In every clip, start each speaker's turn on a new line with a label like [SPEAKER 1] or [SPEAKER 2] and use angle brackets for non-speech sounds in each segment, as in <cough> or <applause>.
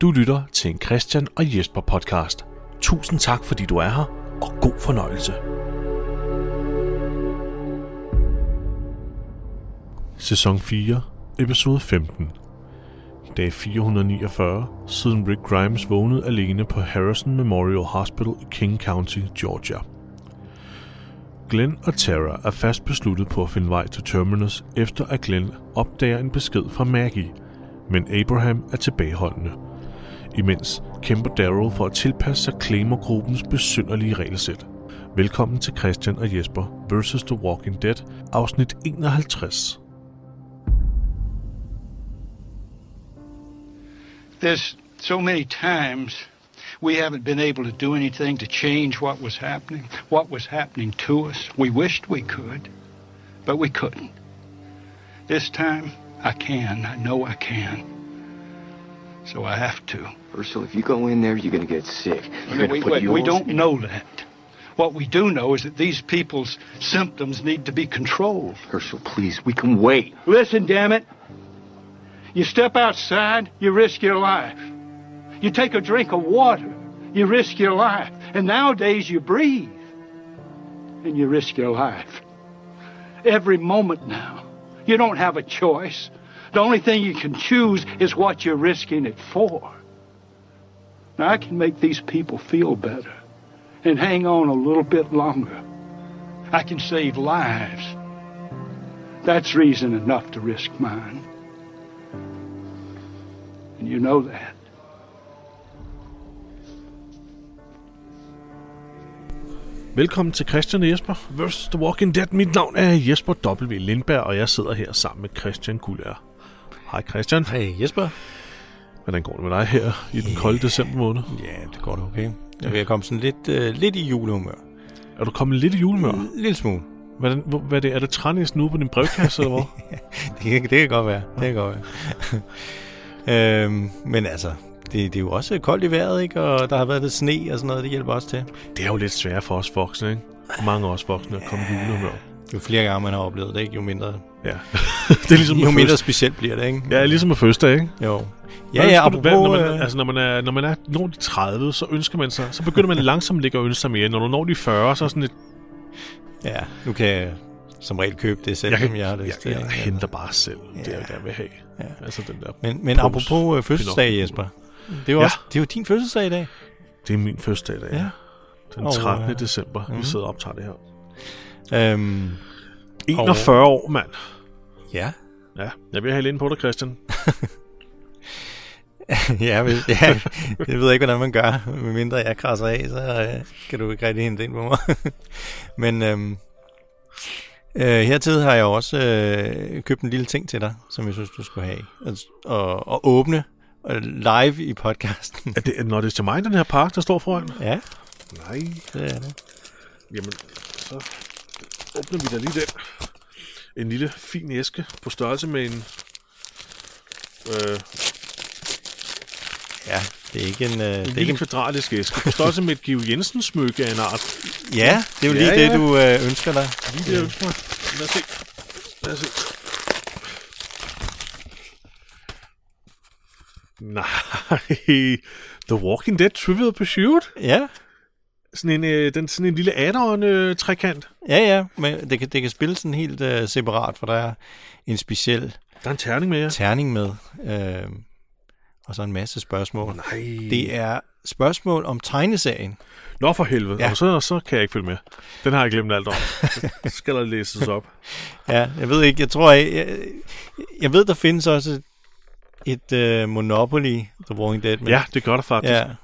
[SPEAKER 1] Du lytter til en Christian og Jesper podcast. Tusind tak, fordi du er her, og god fornøjelse. Sæson 4, episode 15. Dag 449, siden Rick Grimes vågnede alene på Harrison Memorial Hospital i King County, Georgia. Glenn og Tara er fast besluttet på at finde vej til Terminus, efter at Glenn opdager en besked fra Maggie, men Abraham er tilbageholdende. Imens kæmper Daryl for at tilpasse sig Claimer-gruppens besynderlige regelsæt. Velkommen til Christian og Jesper vs. The Walking Dead, afsnit 51.
[SPEAKER 2] There's so many times we haven't been able to do anything to change what was happening, what was happening to us. We wished we could, but we couldn't. This time, I can. I know I can. So I have to.
[SPEAKER 3] Ursula, if you go in there, you're going to get sick. You're gonna
[SPEAKER 2] We,
[SPEAKER 3] put
[SPEAKER 2] we- we
[SPEAKER 3] yours-
[SPEAKER 2] don't know that. What we do know is that these people's symptoms need to be controlled.
[SPEAKER 3] Ursula, please, we can wait.
[SPEAKER 2] Listen, damn it. You step outside, you risk your life. You take a drink of water, you risk your life. And nowadays you breathe and you risk your life. Every moment now. You don't have a choice. The only thing you can choose is what you're risking it for. Now I can make these people feel better and hang on a little bit longer. I can save lives. That's reason enough to risk mine. And you know that.
[SPEAKER 1] Velkommen til Christian og Jesper vs. The Walking Dead. Mit navn er Jesper W. Lindberg, og jeg sidder her sammen med Christian Gullær. Hej Christian.
[SPEAKER 4] Hej Jesper.
[SPEAKER 1] Hvordan går det med dig her i den kolde december måned?
[SPEAKER 4] Ja, det går da okay. Jeg vil komme sådan lidt, øh, lidt i julehumør.
[SPEAKER 1] Er du kommet lidt i julemør?
[SPEAKER 4] En lille smule. <laughs>
[SPEAKER 1] Hvordan, hvor- hvad er det? Er der trænæs nu på din brevkasse, eller hvad?
[SPEAKER 4] Det kan, det kan godt være. <laughs> Det kan godt være. øhm, men altså, det, det er jo også koldt i vejret, ikke? Og der har været lidt sne og sådan noget, det hjælper også til.
[SPEAKER 1] <laughs> Det er jo lidt sværere for os voksne, ikke? For mange af os voksne at komme i julehumør.
[SPEAKER 4] Jo flere gange man har oplevet det, ikke? Jo mindre,
[SPEAKER 1] Ja. <laughs> det er ligesom
[SPEAKER 4] jo
[SPEAKER 1] at
[SPEAKER 4] mindre
[SPEAKER 1] fødsel.
[SPEAKER 4] specielt bliver det, ikke?
[SPEAKER 1] Ja, ligesom at fødselsdag, ikke?
[SPEAKER 4] Jo. Ja,
[SPEAKER 1] Hvordan
[SPEAKER 4] ja,
[SPEAKER 1] skulle du- hvad-
[SPEAKER 4] apropos...
[SPEAKER 1] når man,
[SPEAKER 4] øh,
[SPEAKER 1] altså, når man er, når man er når de 30, så ønsker man sig, så begynder
[SPEAKER 4] <laughs>
[SPEAKER 1] man langsomt ligge og ønske sig mere. Når du når de 40, så er sådan lidt,
[SPEAKER 4] Ja, nu kan jeg som regel købe det selv,
[SPEAKER 1] jeg,
[SPEAKER 4] som
[SPEAKER 1] kan,
[SPEAKER 4] jeg har
[SPEAKER 1] jeg,
[SPEAKER 4] lyst til.
[SPEAKER 1] jeg, jeg
[SPEAKER 4] ikke?
[SPEAKER 1] henter bare selv det, jeg gerne vil have. Ja. Altså den der
[SPEAKER 4] Men, men
[SPEAKER 1] pose.
[SPEAKER 4] apropos øh, fødselsdag, Jesper. Det er, jo
[SPEAKER 1] Ja.
[SPEAKER 4] også, det er jo din fødselsdag i dag.
[SPEAKER 1] Det er min fødselsdag i dag. Ja.
[SPEAKER 4] Ja.
[SPEAKER 1] Den
[SPEAKER 4] Og,
[SPEAKER 1] 13.
[SPEAKER 4] øh,
[SPEAKER 1] december, vi sidder og optager det her.
[SPEAKER 4] Øhm,
[SPEAKER 1] 41 år, mand.
[SPEAKER 4] ja.
[SPEAKER 1] Ja, jeg vil have lidt ind på dig, Christian.
[SPEAKER 4] <laughs> ja, men, ja, jeg ved ikke, hvordan man gør. Medmindre jeg krasser af, så øh, kan du ikke rigtig hente ind på mig. <laughs> men øhm, øh, hertid har jeg også øh, købt en lille ting til dig, som jeg synes, du skulle have. Altså, Og, og åbne øh, live i podcasten.
[SPEAKER 1] Er det, når det er til mig, den her park, der står foran?
[SPEAKER 4] <laughs> ja,
[SPEAKER 1] Nej,
[SPEAKER 4] det er det.
[SPEAKER 1] jamen, så åbner vi da lige den. En lille, fin æske på størrelse med en... Øh,
[SPEAKER 4] Ja, det er ikke en... Øh,
[SPEAKER 1] En
[SPEAKER 4] det er ikke
[SPEAKER 1] lille
[SPEAKER 4] en
[SPEAKER 1] kvadratisk æske, på størrelse med et Giv Jensen smykke af en art.
[SPEAKER 4] ja, det er jo lige
[SPEAKER 1] Ja,
[SPEAKER 4] ja,
[SPEAKER 1] ja.
[SPEAKER 4] det, du øh, ønsker dig.
[SPEAKER 1] Lige det, jeg ønsker mig. Lad os se. Lad os se. Nej, The Walking Dead Trivial Pursuit.
[SPEAKER 4] Ja,
[SPEAKER 1] Sådan en, øh, den, sådan en lille øh, add-on-trekant.
[SPEAKER 4] ja, ja. Men det kan, det kan spilles sådan helt øh, separat, for der er en speciel
[SPEAKER 1] der er en terning med jer.
[SPEAKER 4] terning med, øh, og så en masse spørgsmål.
[SPEAKER 1] Nej.
[SPEAKER 4] Det er spørgsmål om tegneserien.
[SPEAKER 1] Nå for helvede. Ja.
[SPEAKER 4] Ja.
[SPEAKER 1] Og så, så kan jeg ikke følge med. Den har jeg glemt alt om. <laughs> Så skal der læses op.
[SPEAKER 4] Ja, jeg ved ikke, jeg tror, jeg, jeg, jeg ved, der findes også et, et uh, Monopoly, The Walking Dead, men,
[SPEAKER 1] Ja, det gør der faktisk. Ja.
[SPEAKER 4] ja,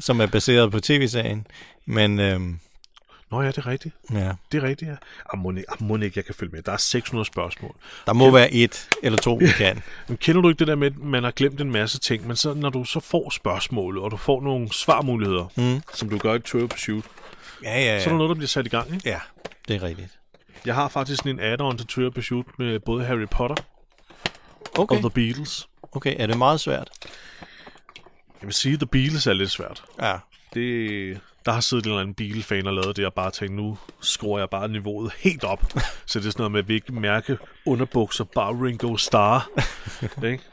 [SPEAKER 4] som er baseret på tv-serien, men øh,
[SPEAKER 1] Nå ja, det er rigtigt.
[SPEAKER 4] ja,
[SPEAKER 1] Det er rigtigt, ja. Ah, mon ikke- ah, mon ikke, jeg kan følge med. Der er 600 spørgsmål.
[SPEAKER 4] der må være et eller to, vi kan.
[SPEAKER 1] Men kender du ikke det der med, at man har glemt en masse ting, men så, når du så får spørgsmålet, og du får nogle svarmuligheder, mm. som du gør i Turbo Pursuit,
[SPEAKER 4] Ja, ja,
[SPEAKER 1] så er der
[SPEAKER 4] ja.
[SPEAKER 1] noget, der bliver sat i gang. Ikke?
[SPEAKER 4] ja det er rigtigt.
[SPEAKER 1] Jeg har faktisk sådan en add-on til Turbo Pursuit med både Harry Potter okay.
[SPEAKER 4] Okay,
[SPEAKER 1] og The Beatles.
[SPEAKER 4] okay, er det meget svært?
[SPEAKER 1] Jeg vil sige, at The Beatles er lidt svært.
[SPEAKER 4] Ja,
[SPEAKER 1] Det, der har siddet en eller anden bilfan og lavet det, og bare tænkt, nu skruer jeg bare niveauet helt op.
[SPEAKER 4] <laughs>
[SPEAKER 1] så det er sådan noget med, at vi ikke mærke underbukser, bare Ringo Starr. ikke?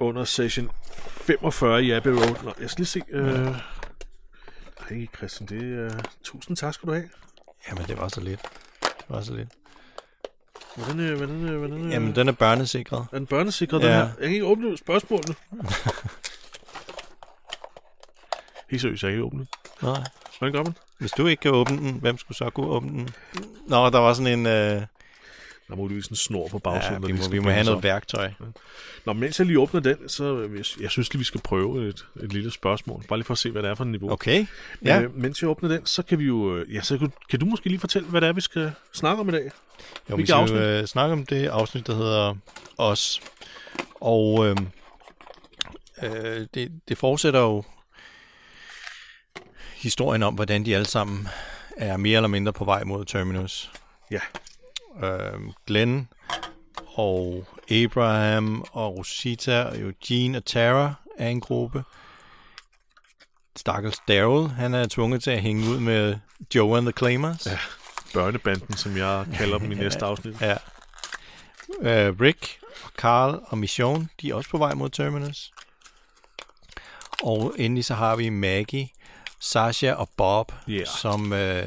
[SPEAKER 1] under session 45 i Abbey Road. Nå, jeg skal lige se. Øh... Hej Christian, det er... Øh... Tusind tak skal du have.
[SPEAKER 4] Jamen, det var så lidt. Det var så lidt.
[SPEAKER 1] Hvordan, øh, hvordan, øh, hvordan, øh...
[SPEAKER 4] Jamen, den er børnesikret.
[SPEAKER 1] er den børnesikret, ja. den
[SPEAKER 4] Ja.
[SPEAKER 1] her? Jeg kan ikke åbne
[SPEAKER 4] <laughs>
[SPEAKER 1] spørgsmålene. Helt seriøst, jeg kan ikke åbne den.
[SPEAKER 4] Nej.
[SPEAKER 1] Hvordan gør man?
[SPEAKER 4] Hvis du ikke kan åbne den, hvem skulle så kunne åbne den? Nå, der var sådan en... Øh,
[SPEAKER 1] Der må du sådan en snor på
[SPEAKER 4] ja,
[SPEAKER 1] bagsiden. der
[SPEAKER 4] vi,
[SPEAKER 1] lige
[SPEAKER 4] må,
[SPEAKER 1] skal
[SPEAKER 4] vi må
[SPEAKER 1] binde
[SPEAKER 4] have
[SPEAKER 1] sig
[SPEAKER 4] noget
[SPEAKER 1] op.
[SPEAKER 4] værktøj.
[SPEAKER 1] Nå, mens jeg lige åbner den, så øh, jeg, jeg synes lige, vi skal prøve et, et lille spørgsmål. Bare lige for at se, hvad det er for en niveau.
[SPEAKER 4] Okay.
[SPEAKER 1] Men,
[SPEAKER 4] Ja.
[SPEAKER 1] øh, mens jeg åbner den, så kan vi jo... øh, Ja, så kan, kan du måske lige fortælle, hvad det er, vi skal snakke om i dag?
[SPEAKER 4] Jo, vi
[SPEAKER 1] Hvilket
[SPEAKER 4] skal jo
[SPEAKER 1] afsnit?
[SPEAKER 4] øh, snakke om det afsnit, der hedder Os. Og øh, øh, det, det fortsætter jo historien om, hvordan de alle sammen er mere eller mindre på vej mod Terminus.
[SPEAKER 1] Ja.
[SPEAKER 4] Øh, Glenn og Abraham og Rosita og Eugene og Tara er en gruppe. Stakkels Daryl, han er tvunget til at hænge ud med Joe and the Claimers. Ja.
[SPEAKER 1] Børnebanden, som jeg kalder <laughs> dem i næste afsnit.
[SPEAKER 4] Ja. Øh, Rick, og Carl og Mission, de er også på vej mod Terminus. Og endelig så har vi Maggie, Sasha og Bob,
[SPEAKER 1] Ja.
[SPEAKER 4] som øh,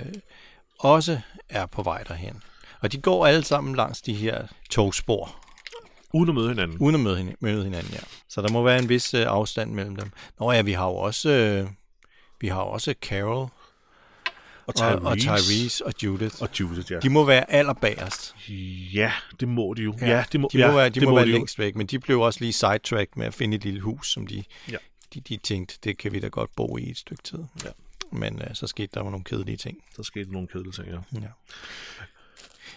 [SPEAKER 4] også er på vej derhen. Og de går alle sammen langs de her togspor,
[SPEAKER 1] Uden at møde hinanden.
[SPEAKER 4] uden at møde, hin- møde hinanden, ja. Så der må være en vis øh, afstand mellem dem. Nå ja, vi har jo også, øh, vi har jo også Carol
[SPEAKER 1] Og
[SPEAKER 4] og, og Tyrese og Judith.
[SPEAKER 1] Og Judith, ja.
[SPEAKER 4] De må være allerbagerst.
[SPEAKER 1] Ja, det må de jo. Ja, ja det må,
[SPEAKER 4] de må
[SPEAKER 1] ja,
[SPEAKER 4] være, de
[SPEAKER 1] det
[SPEAKER 4] må være
[SPEAKER 1] jo.
[SPEAKER 4] længst væk, men de blev også lige sidetracked med at finde et lille hus, som de,
[SPEAKER 1] Ja.
[SPEAKER 4] de, de tænkte, det kan vi da godt bo i et stykke tid.
[SPEAKER 1] Ja.
[SPEAKER 4] Men øh, så skete der nogle kedelige ting.
[SPEAKER 1] Der skete nogle kedelige ting, ja.
[SPEAKER 4] Ja.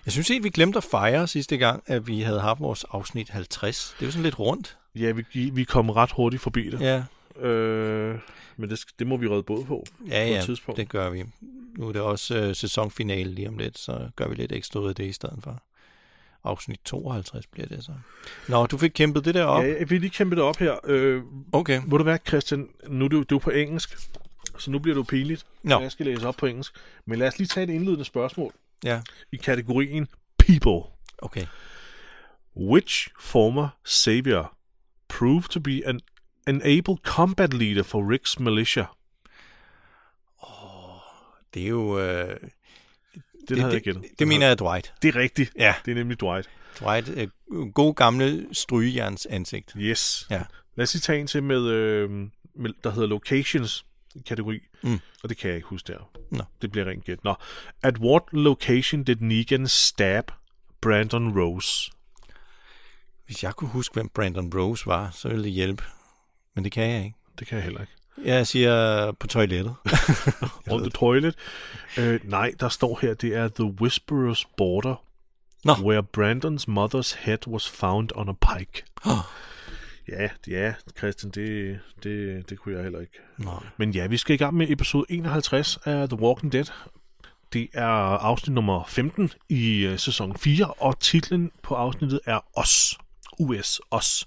[SPEAKER 4] Jeg synes helt, vi glemte at fejre sidste gang, at vi havde haft vores afsnit 50. Det er jo sådan lidt rundt.
[SPEAKER 1] Ja, vi, vi kom ret hurtigt forbi det.
[SPEAKER 4] Ja,
[SPEAKER 1] Øh, men det, sk- det må vi redde båd på. på
[SPEAKER 4] ja, ja
[SPEAKER 1] et tidspunkt.
[SPEAKER 4] det gør vi. Nu er det også øh, sæsonfinale lige om lidt, så gør vi lidt ekstra ud af det i stedet for. Afsnit 52 bliver det så. Nå, du fik kæmpet det der op.
[SPEAKER 1] Ja, jeg vil lige kæmpe det op her. Øh,
[SPEAKER 4] Okay.
[SPEAKER 1] må du være, Christian, nu er du, du er på engelsk, så nu bliver du pinligt.
[SPEAKER 4] Nå.
[SPEAKER 1] Jeg skal læse op på engelsk. Men lad os lige tage et indledende spørgsmål
[SPEAKER 4] Ja,
[SPEAKER 1] i kategorien People.
[SPEAKER 4] okay.
[SPEAKER 1] Which former savior proved to be an, an able combat leader for Rick's militia?
[SPEAKER 4] Det er jo... Øh,
[SPEAKER 1] Det, det havde jeg gættet.
[SPEAKER 4] Det, det mener jeg er Dwight.
[SPEAKER 1] Det er rigtigt.
[SPEAKER 4] Ja.
[SPEAKER 1] Det er nemlig Dwight.
[SPEAKER 4] Dwight, øh, god gamle strygejerns ansigt.
[SPEAKER 1] Yes.
[SPEAKER 4] Ja.
[SPEAKER 1] Lad os lige tage en til med, øh, med der hedder Locations kategori.
[SPEAKER 4] Mm.
[SPEAKER 1] Og det kan jeg ikke huske der.
[SPEAKER 4] Nå.
[SPEAKER 1] Det bliver rent gæt. Nå. At what location did Negan stab Brandon Rose?
[SPEAKER 4] Hvis jeg kunne huske, hvem Brandon Rose var, så ville det hjælpe. Men det kan jeg ikke.
[SPEAKER 1] Det kan jeg heller ikke.
[SPEAKER 4] Jeg siger på toilettet. <laughs>
[SPEAKER 1] On the toilet. Øh, nej, der står her, det er The Whisperer's Border,
[SPEAKER 4] Nå.
[SPEAKER 1] where Brandons mother's head was found on a pike.
[SPEAKER 4] Åh.
[SPEAKER 1] Ja, ja, Christian, det, det, det kunne jeg heller ikke.
[SPEAKER 4] Nå.
[SPEAKER 1] Men ja, vi skal i gang med episode 51 af The Walking Dead. Det er afsnit nummer 15 i øh, sæson 4, og titlen på afsnittet er Os. US, Os.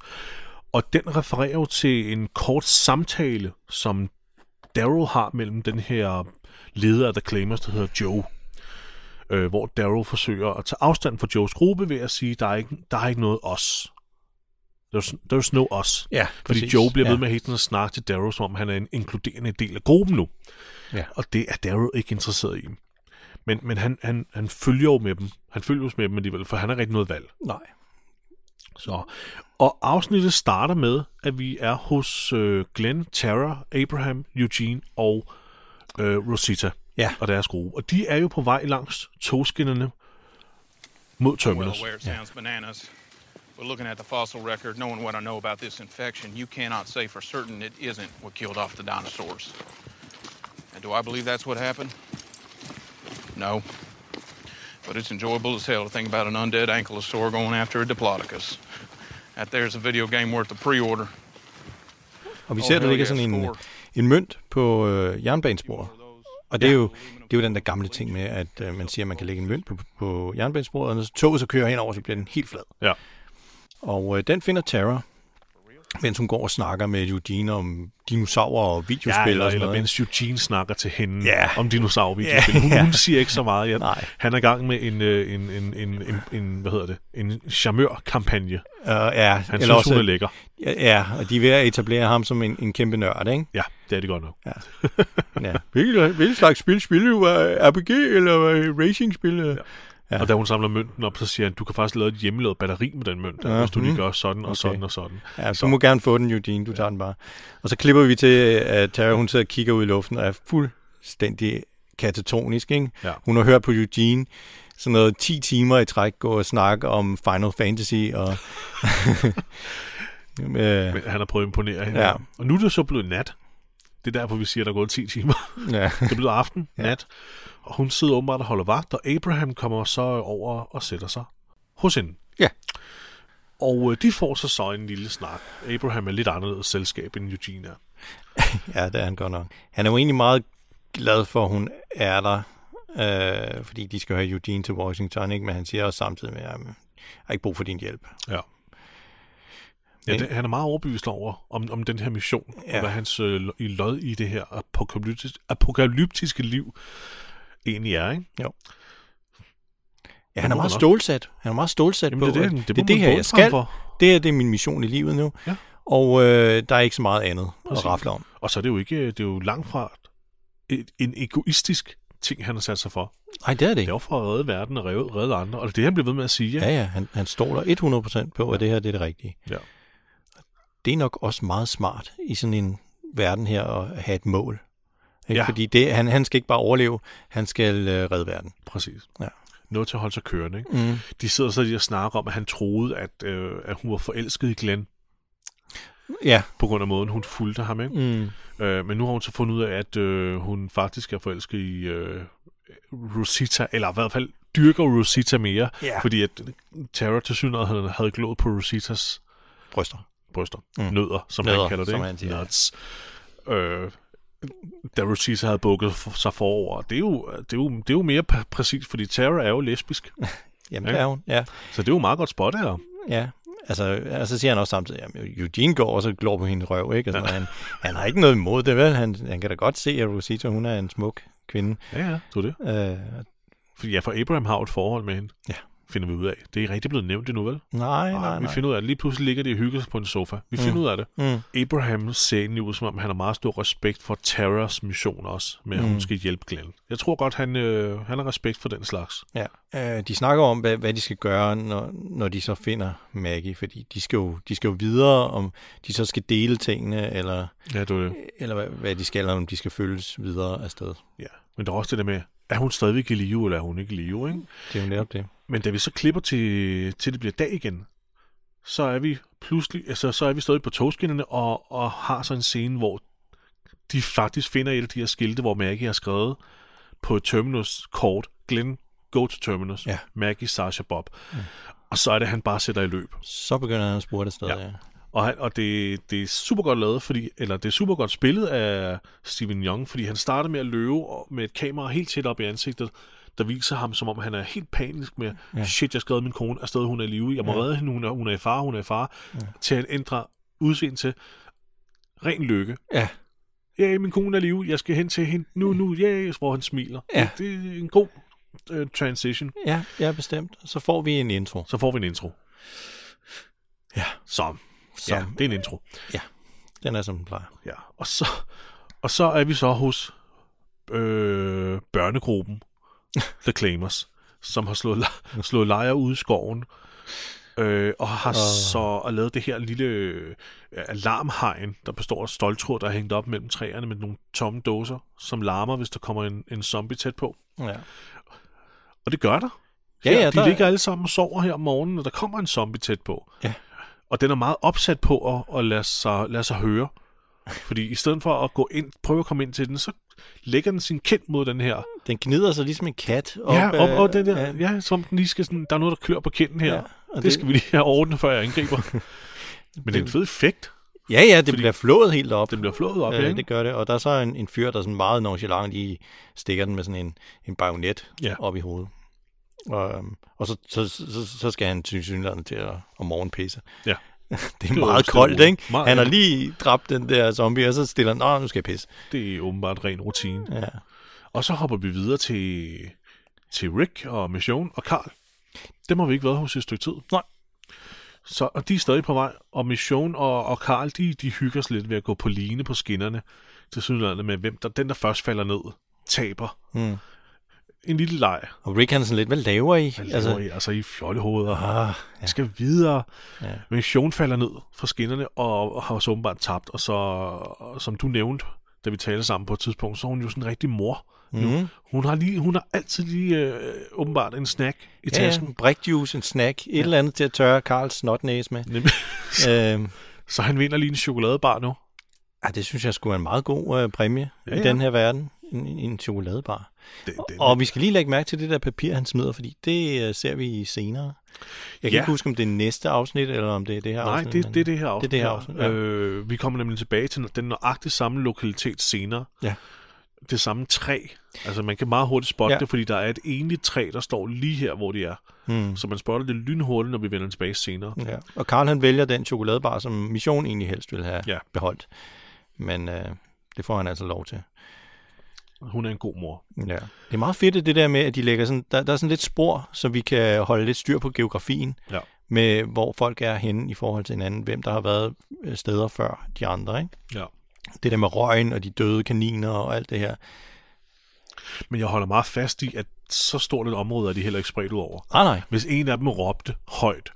[SPEAKER 1] Og den refererer jo til en kort samtale, som Daryl har mellem den her leder af The Claimers, der hedder Joe. Øh, hvor Daryl forsøger at tage afstand fra Joes gruppe ved at sige, der er ikke, der er ikke noget os. There's, there's no os.
[SPEAKER 4] Ja,
[SPEAKER 1] Fordi
[SPEAKER 4] præcis.
[SPEAKER 1] Joe bliver
[SPEAKER 4] Ja.
[SPEAKER 1] ved med hele tiden at snakke til Daryl, som om han er en inkluderende del af gruppen nu.
[SPEAKER 4] Ja.
[SPEAKER 1] Og det er Daryl ikke interesseret i. Men, men han, han, han følger jo med dem. Han følger jo med dem alligevel, for han har rigtig noget valg.
[SPEAKER 4] Nej.
[SPEAKER 1] Så. Og afsnittet starter med, at vi er hos øh, Glenn, Tara, Abraham, Eugene og øh, Rosita
[SPEAKER 4] Ja.
[SPEAKER 1] og deres gruppe. Og de er jo på vej langs togskinnerne mod
[SPEAKER 5] Well
[SPEAKER 1] Terminus.
[SPEAKER 5] aware it sounds bananas, but looking at the fossil record, knowing what I know about this infection, you cannot say for certain it isn't what killed off the dinosaurs. And do I believe that's what happened? No. But it's enjoyable as hell to think about an undead ankylosaur going after a diplodocus. That there's a video game worth the pre-order.
[SPEAKER 4] Og vi ser,
[SPEAKER 5] Oh,
[SPEAKER 4] der ligger
[SPEAKER 5] hell yes,
[SPEAKER 4] sådan en,
[SPEAKER 5] four.
[SPEAKER 4] en mønt på øh, jernbanesporet. Og det er, jo, det er jo den der gamle ting med, at øh, man siger, at man kan lægge en mønt på, på jernbanesporet, og når så toget så kører henover, så bliver den helt flad.
[SPEAKER 1] Ja.
[SPEAKER 4] Og øh, den finder Tara. mens hun går og snakker med Eugene om dinosaurer og videospil
[SPEAKER 1] Ja, eller,
[SPEAKER 4] og sådan
[SPEAKER 1] eller
[SPEAKER 4] noget.
[SPEAKER 1] mens Eugene snakker til hende
[SPEAKER 4] Ja.
[SPEAKER 1] om dinosaurvideospil.
[SPEAKER 4] Ja,
[SPEAKER 1] Hun,
[SPEAKER 4] ja.
[SPEAKER 1] hun siger ikke så meget. Ja.
[SPEAKER 4] Nej.
[SPEAKER 1] Han er i gang med en, øh, en, en, en, en, en hvad hedder det, en charmeur-kampagne.
[SPEAKER 4] Uh, ja,
[SPEAKER 1] Han synes, hun er lækker.
[SPEAKER 4] ja, ja, og de er ved at etablere ham som en, en kæmpe nørd, ikke?
[SPEAKER 1] Ja, det er det godt nok. <laughs>
[SPEAKER 4] Ja. hvilket, hvilket slags spil spiller du? Var RPG eller
[SPEAKER 1] øh,
[SPEAKER 4] racing-spil? Ja.
[SPEAKER 1] Ja. Og da hun samler mønten op, så siger han, du kan faktisk lave et hjemmelavet batteri med den mønt, ja. hvis du lige gør sådan og okay. sådan og sådan.
[SPEAKER 4] Ja, så du må gerne få den, Eugene. Du tager den bare. Og så klipper vi til, at Tara, hun sidder og kigger ud i luften og er fuldstændig katatonisk, ikke?
[SPEAKER 1] Ja.
[SPEAKER 4] Hun har hørt på Eugene sådan noget 10 timer i træk gå og snakke om Final Fantasy og... øh,
[SPEAKER 1] Men han har prøvet at imponere hende.
[SPEAKER 4] Ja.
[SPEAKER 1] Og nu er det så blevet nat. Det er derfor, vi siger, at der er gået 10 timer.
[SPEAKER 4] ja.
[SPEAKER 1] Det er blevet aften, nat. Og hun sidder åbenbart og holder vagt, og Abraham kommer så over og sætter sig hos hende.
[SPEAKER 4] ja.
[SPEAKER 1] Og øh, de får så så en lille snak. Abraham er lidt anderledes selskab, end Eugene er.
[SPEAKER 4] Ja, det er han godt nok. Han er jo egentlig meget glad for, at hun er der, øh, fordi de skal have Eugene til Washington, ikke? men han siger også samtidig med, at jeg har ikke brug for din hjælp.
[SPEAKER 1] Ja. Ja, det, han er meget overbevist over, om, om den her mission, ja.
[SPEAKER 4] Ja.
[SPEAKER 1] og hvad hans øh, lo- i lod i det her apokalyptiske, apokalyptiske liv egentlig er, ikke?
[SPEAKER 4] Ja, han er
[SPEAKER 1] må
[SPEAKER 4] meget
[SPEAKER 1] man nok.
[SPEAKER 4] stålsat. Han er meget stålsat
[SPEAKER 1] Jamen,
[SPEAKER 4] på,
[SPEAKER 1] det er det,
[SPEAKER 4] at
[SPEAKER 1] det må
[SPEAKER 4] det, er
[SPEAKER 1] man
[SPEAKER 4] det her,
[SPEAKER 1] båle
[SPEAKER 4] jeg skal.
[SPEAKER 1] frem for.
[SPEAKER 4] Det her, det er min mission i livet nu.
[SPEAKER 1] Ja.
[SPEAKER 4] Og øh, der er ikke så meget andet
[SPEAKER 1] Præcis.
[SPEAKER 4] at rafle om.
[SPEAKER 1] Og så er det jo ikke, det er jo langt fra et, en egoistisk ting, han har sat sig for.
[SPEAKER 4] Nej, det er
[SPEAKER 1] Det
[SPEAKER 4] det
[SPEAKER 1] er
[SPEAKER 4] ikke.
[SPEAKER 1] jo for at redde verden og redde, redde andre, og det er det, han bliver ved med at sige.
[SPEAKER 4] Ja, ja, han, han stoler 100% på, at det her det er det rigtige.
[SPEAKER 1] Ja.
[SPEAKER 4] Det er nok også meget smart i sådan en verden her at have et mål. Ikke?
[SPEAKER 1] Ja.
[SPEAKER 4] Fordi det, han, han skal ikke bare overleve, han skal øh, redde verden.
[SPEAKER 1] Præcis.
[SPEAKER 4] Ja.
[SPEAKER 1] Noget til at holde sig kørende, ikke? Mm. De sidder så lige og snakker om, at han troede, at, øh, at hun var forelsket i Glenn,
[SPEAKER 4] Ja,
[SPEAKER 1] på grund af måden, hun fulgte ham, ikke?
[SPEAKER 4] mm.
[SPEAKER 1] Øh, men nu har hun så fundet ud af, at øh, hun faktisk er forelsket i øh, Rosita, eller i hvert fald dyrker Rosita mere,
[SPEAKER 4] Ja.
[SPEAKER 1] fordi at Tara til synligheden havde, havde glået på Rositas
[SPEAKER 4] bryster.
[SPEAKER 1] bryster, mm. nødder, som
[SPEAKER 4] Nødder,
[SPEAKER 1] han kalder det.
[SPEAKER 4] som
[SPEAKER 1] ikke?
[SPEAKER 4] han siger, ja.
[SPEAKER 1] Nuts. Øh, da Rosita havde bukket for, sig forover. Det er, jo, det, er jo, det er jo mere præ- præcist, fordi Tara er jo lesbisk,
[SPEAKER 4] Jamen, det er hun. Ja,
[SPEAKER 1] så det er jo meget godt spot her.
[SPEAKER 4] ja. Altså, og så siger han også samtidig, at Eugene går også og glår på hendes røv, ikke? Altså, han, han har ikke noget imod det, vel? Han, han kan da godt se, at Rosita, hun er en smuk kvinde.
[SPEAKER 1] Ja, ja, det er det.
[SPEAKER 4] Øh,
[SPEAKER 1] Fordi ja, for Abraham har jo et forhold med hende,
[SPEAKER 4] Ja.
[SPEAKER 1] finder vi ud af. Det er ikke rigtig blevet nævnt endnu, vel?
[SPEAKER 4] nej, nej,
[SPEAKER 1] Nej, Ah, vi
[SPEAKER 4] nej.
[SPEAKER 1] finder ud af det. Lige pludselig ligger de og hygger sig på en sofa. Vi finder mm. ud af det. Mm. Abraham ser egentlig ud, som om han har meget stor respekt for Terras mission også, med at hun skal hjælpe Glenn. Jeg tror godt, han, øh, han har respekt for den slags.
[SPEAKER 4] Ja. Øh, de snakker om, hvad, hvad de skal gøre, når, når de så finder Maggie, fordi de skal, jo, de skal jo videre, om de så skal dele tingene, eller,
[SPEAKER 1] Ja, øh. det er det.
[SPEAKER 4] eller hvad, hvad de skal, eller om de skal følges videre afsted.
[SPEAKER 1] Ja. Men der er også det der med, er hun stadigvæk i live, eller er hun ikke i live, ikke?
[SPEAKER 4] Det er jo netop det.
[SPEAKER 1] Men da vi så klipper til, til det bliver dag igen, så er vi pludselig, altså, så er vi stadig på togskinnerne og, og har så en scene, hvor de faktisk finder et af de her skilte, hvor Maggie har skrevet på et terminus-kort, Glenn, go to terminus,
[SPEAKER 4] Ja.
[SPEAKER 1] Maggie, Sasha, Bob. Mm. Og så er det, han bare sætter i løb.
[SPEAKER 4] Så begynder han at spurgte afsted,
[SPEAKER 1] Ja.
[SPEAKER 4] ja. ja.
[SPEAKER 1] Og, han, og det, det er super godt lavet, fordi, eller det er super godt spillet af Steven Young, fordi han starter med at løbe og- med et kamera helt tæt op i ansigtet, der viser ham, som om han er helt panisk med, ja. shit, jeg skrev min kone afsted, hun er i live, jeg må ja. redde hende, hun er, hun er i fare, hun er i fare, ja. til at ændre udseende til ren lykke.
[SPEAKER 4] Ja,
[SPEAKER 1] Ja, min kone er i live, jeg skal hen til hende, nu, nu, ja, hvor han smiler.
[SPEAKER 4] Ja.
[SPEAKER 1] Det er en god uh, transition.
[SPEAKER 4] ja, ja, bestemt. Så får vi en intro.
[SPEAKER 1] Så får vi en intro. Ja. Så.
[SPEAKER 4] Som,
[SPEAKER 1] Ja, det er en intro.
[SPEAKER 4] Den er, som den plejer.
[SPEAKER 1] Ja, og så, og så er vi så hos øh, børnegruppen The Claimers, som har slået, le- slået lejre ude i skoven, øh, og har så og lavet det her lille øh, alarmhegn, der består af stoltråd, der er hængt op mellem træerne med nogle tomme dåser, som larmer, hvis der kommer en, en zombie tæt på.
[SPEAKER 4] Ja.
[SPEAKER 1] Og det gør der.
[SPEAKER 4] Ja,
[SPEAKER 1] her,
[SPEAKER 4] ja,
[SPEAKER 1] de
[SPEAKER 4] der-
[SPEAKER 1] ligger alle sammen og sover her om morgenen, og der kommer en zombie tæt på.
[SPEAKER 4] Ja.
[SPEAKER 1] Og den er meget opsat på at, at lade, sig, lade sig høre. Fordi i stedet for at gå ind, prøve at komme ind til den, så lægger den sin kind mod den her.
[SPEAKER 4] Den gnider sig ligesom en kat. Op,
[SPEAKER 1] ja, og, og
[SPEAKER 4] øh,
[SPEAKER 1] den der,
[SPEAKER 4] øh,
[SPEAKER 1] ja, som den lige skal sådan, der er noget, der klør på kinden her.
[SPEAKER 4] Ja,
[SPEAKER 1] Ja,
[SPEAKER 4] og
[SPEAKER 1] det,
[SPEAKER 4] det-
[SPEAKER 1] det, skal vi lige have ordnet, før jeg angriber.
[SPEAKER 4] <laughs>
[SPEAKER 1] Men det er en fed effekt.
[SPEAKER 4] ja, ja, det bliver flået helt op.
[SPEAKER 1] Den bliver flået op,
[SPEAKER 4] Øh,
[SPEAKER 1] ikke?
[SPEAKER 4] det gør det, og der er så en, en fyr, der sådan meget nonchalant lige stikker den med sådan en, en bajonet ja.
[SPEAKER 1] Ja.
[SPEAKER 4] op i hovedet. Og, øhm, og så, så, så, så skal han til synligheden til at, at morgenpisse. <laughs>
[SPEAKER 1] Ja.
[SPEAKER 4] det er
[SPEAKER 1] jo
[SPEAKER 4] meget
[SPEAKER 1] stille
[SPEAKER 4] koldt,
[SPEAKER 1] og
[SPEAKER 4] ikke?
[SPEAKER 1] roligt.
[SPEAKER 4] Han har
[SPEAKER 1] Meget.
[SPEAKER 4] lige dræbt den der zombie, og så stiller han, nå, nu skal jeg pisse.
[SPEAKER 1] Det er åbenbart ren rutine.
[SPEAKER 4] Ja.
[SPEAKER 1] Og så hopper vi videre til, til Rick og Mission og Karl. Dem har vi ikke været hos i et stykke tid.
[SPEAKER 4] Nej.
[SPEAKER 1] Så, og de er stadig på vej, og Mission og, og Karl, de, de hygger sig lidt ved at gå på line på skinnerne til sydlandet med, hvem der, den der først falder ned, taber.
[SPEAKER 4] Mm.
[SPEAKER 1] En lille leg.
[SPEAKER 4] Og Rick han er sådan lidt, hvad laver I?
[SPEAKER 1] Hvad altså, laver I? Altså, I fjollehoveder.
[SPEAKER 4] Ah,
[SPEAKER 1] Ja. skal videre.
[SPEAKER 4] Ja.
[SPEAKER 1] Ja. Men Sean falder ned fra skinnerne og, og har så åbenbart tabt. Og så, og som du nævnte, da vi talte sammen på et tidspunkt, så er hun jo sådan en rigtig mor.
[SPEAKER 4] Mhm.
[SPEAKER 1] Mm. Hun, har lige, hun har altid lige øh, åbenbart en snack i
[SPEAKER 4] ja, ja.
[SPEAKER 1] tasken.
[SPEAKER 4] en Brikjuice, en snack, et ja. eller andet til at tørre Karls snotnæs med.
[SPEAKER 1] Nemlig.
[SPEAKER 4] øhm,
[SPEAKER 1] så han vinder lige en chokoladebar nu.
[SPEAKER 4] ah, det synes jeg skulle være en meget god øh, præmie ja,
[SPEAKER 1] Ja,
[SPEAKER 4] i
[SPEAKER 1] ja.
[SPEAKER 4] den her verden. En, en, en chokoladebar.
[SPEAKER 1] Den, den,
[SPEAKER 4] Og vi skal lige lægge mærke til det der papir, han smider, fordi det øh, ser vi senere. Jeg kan
[SPEAKER 1] Ja.
[SPEAKER 4] ikke huske, om det er næste afsnit, eller om det er det her
[SPEAKER 1] Nej,
[SPEAKER 4] afsnit.
[SPEAKER 1] det,
[SPEAKER 4] men-
[SPEAKER 1] det er det her afsnit.
[SPEAKER 4] det her afsnit, ja.
[SPEAKER 1] Øh, vi kommer nemlig tilbage til den nøjagtigt samme lokalitet senere.
[SPEAKER 4] Ja.
[SPEAKER 1] Det samme træ. Altså, man kan meget hurtigt spotte
[SPEAKER 4] Ja.
[SPEAKER 1] ja. det, fordi der er et enligt træ, der står lige her, hvor de er.
[SPEAKER 4] Hmm.
[SPEAKER 1] Så man spotter det lynhurtigt, når vi vender tilbage senere.
[SPEAKER 4] Ja. Og Karl han vælger den chokoladebar, som Mission egentlig helst ville have ja.
[SPEAKER 1] Ja.
[SPEAKER 4] beholdt. Men øh, det får han altså lov til. Hmm.
[SPEAKER 1] Hun er en god mor.
[SPEAKER 4] Ja. Det er meget fedt det der med, at de lægger sådan, der, der er sådan lidt spor, så vi kan holde lidt styr på geografien,
[SPEAKER 1] Ja.
[SPEAKER 4] med hvor folk er henne i forhold til hinanden, hvem der har været øh, steder før de andre. Ikke?
[SPEAKER 1] ja.
[SPEAKER 4] Det der med røgen og de døde kaniner og alt det her.
[SPEAKER 1] Men jeg holder meget fast i, at så stort et område er de heller ikke spredt ud over.
[SPEAKER 4] Ah nej,
[SPEAKER 1] Hvis en af dem råbte højt,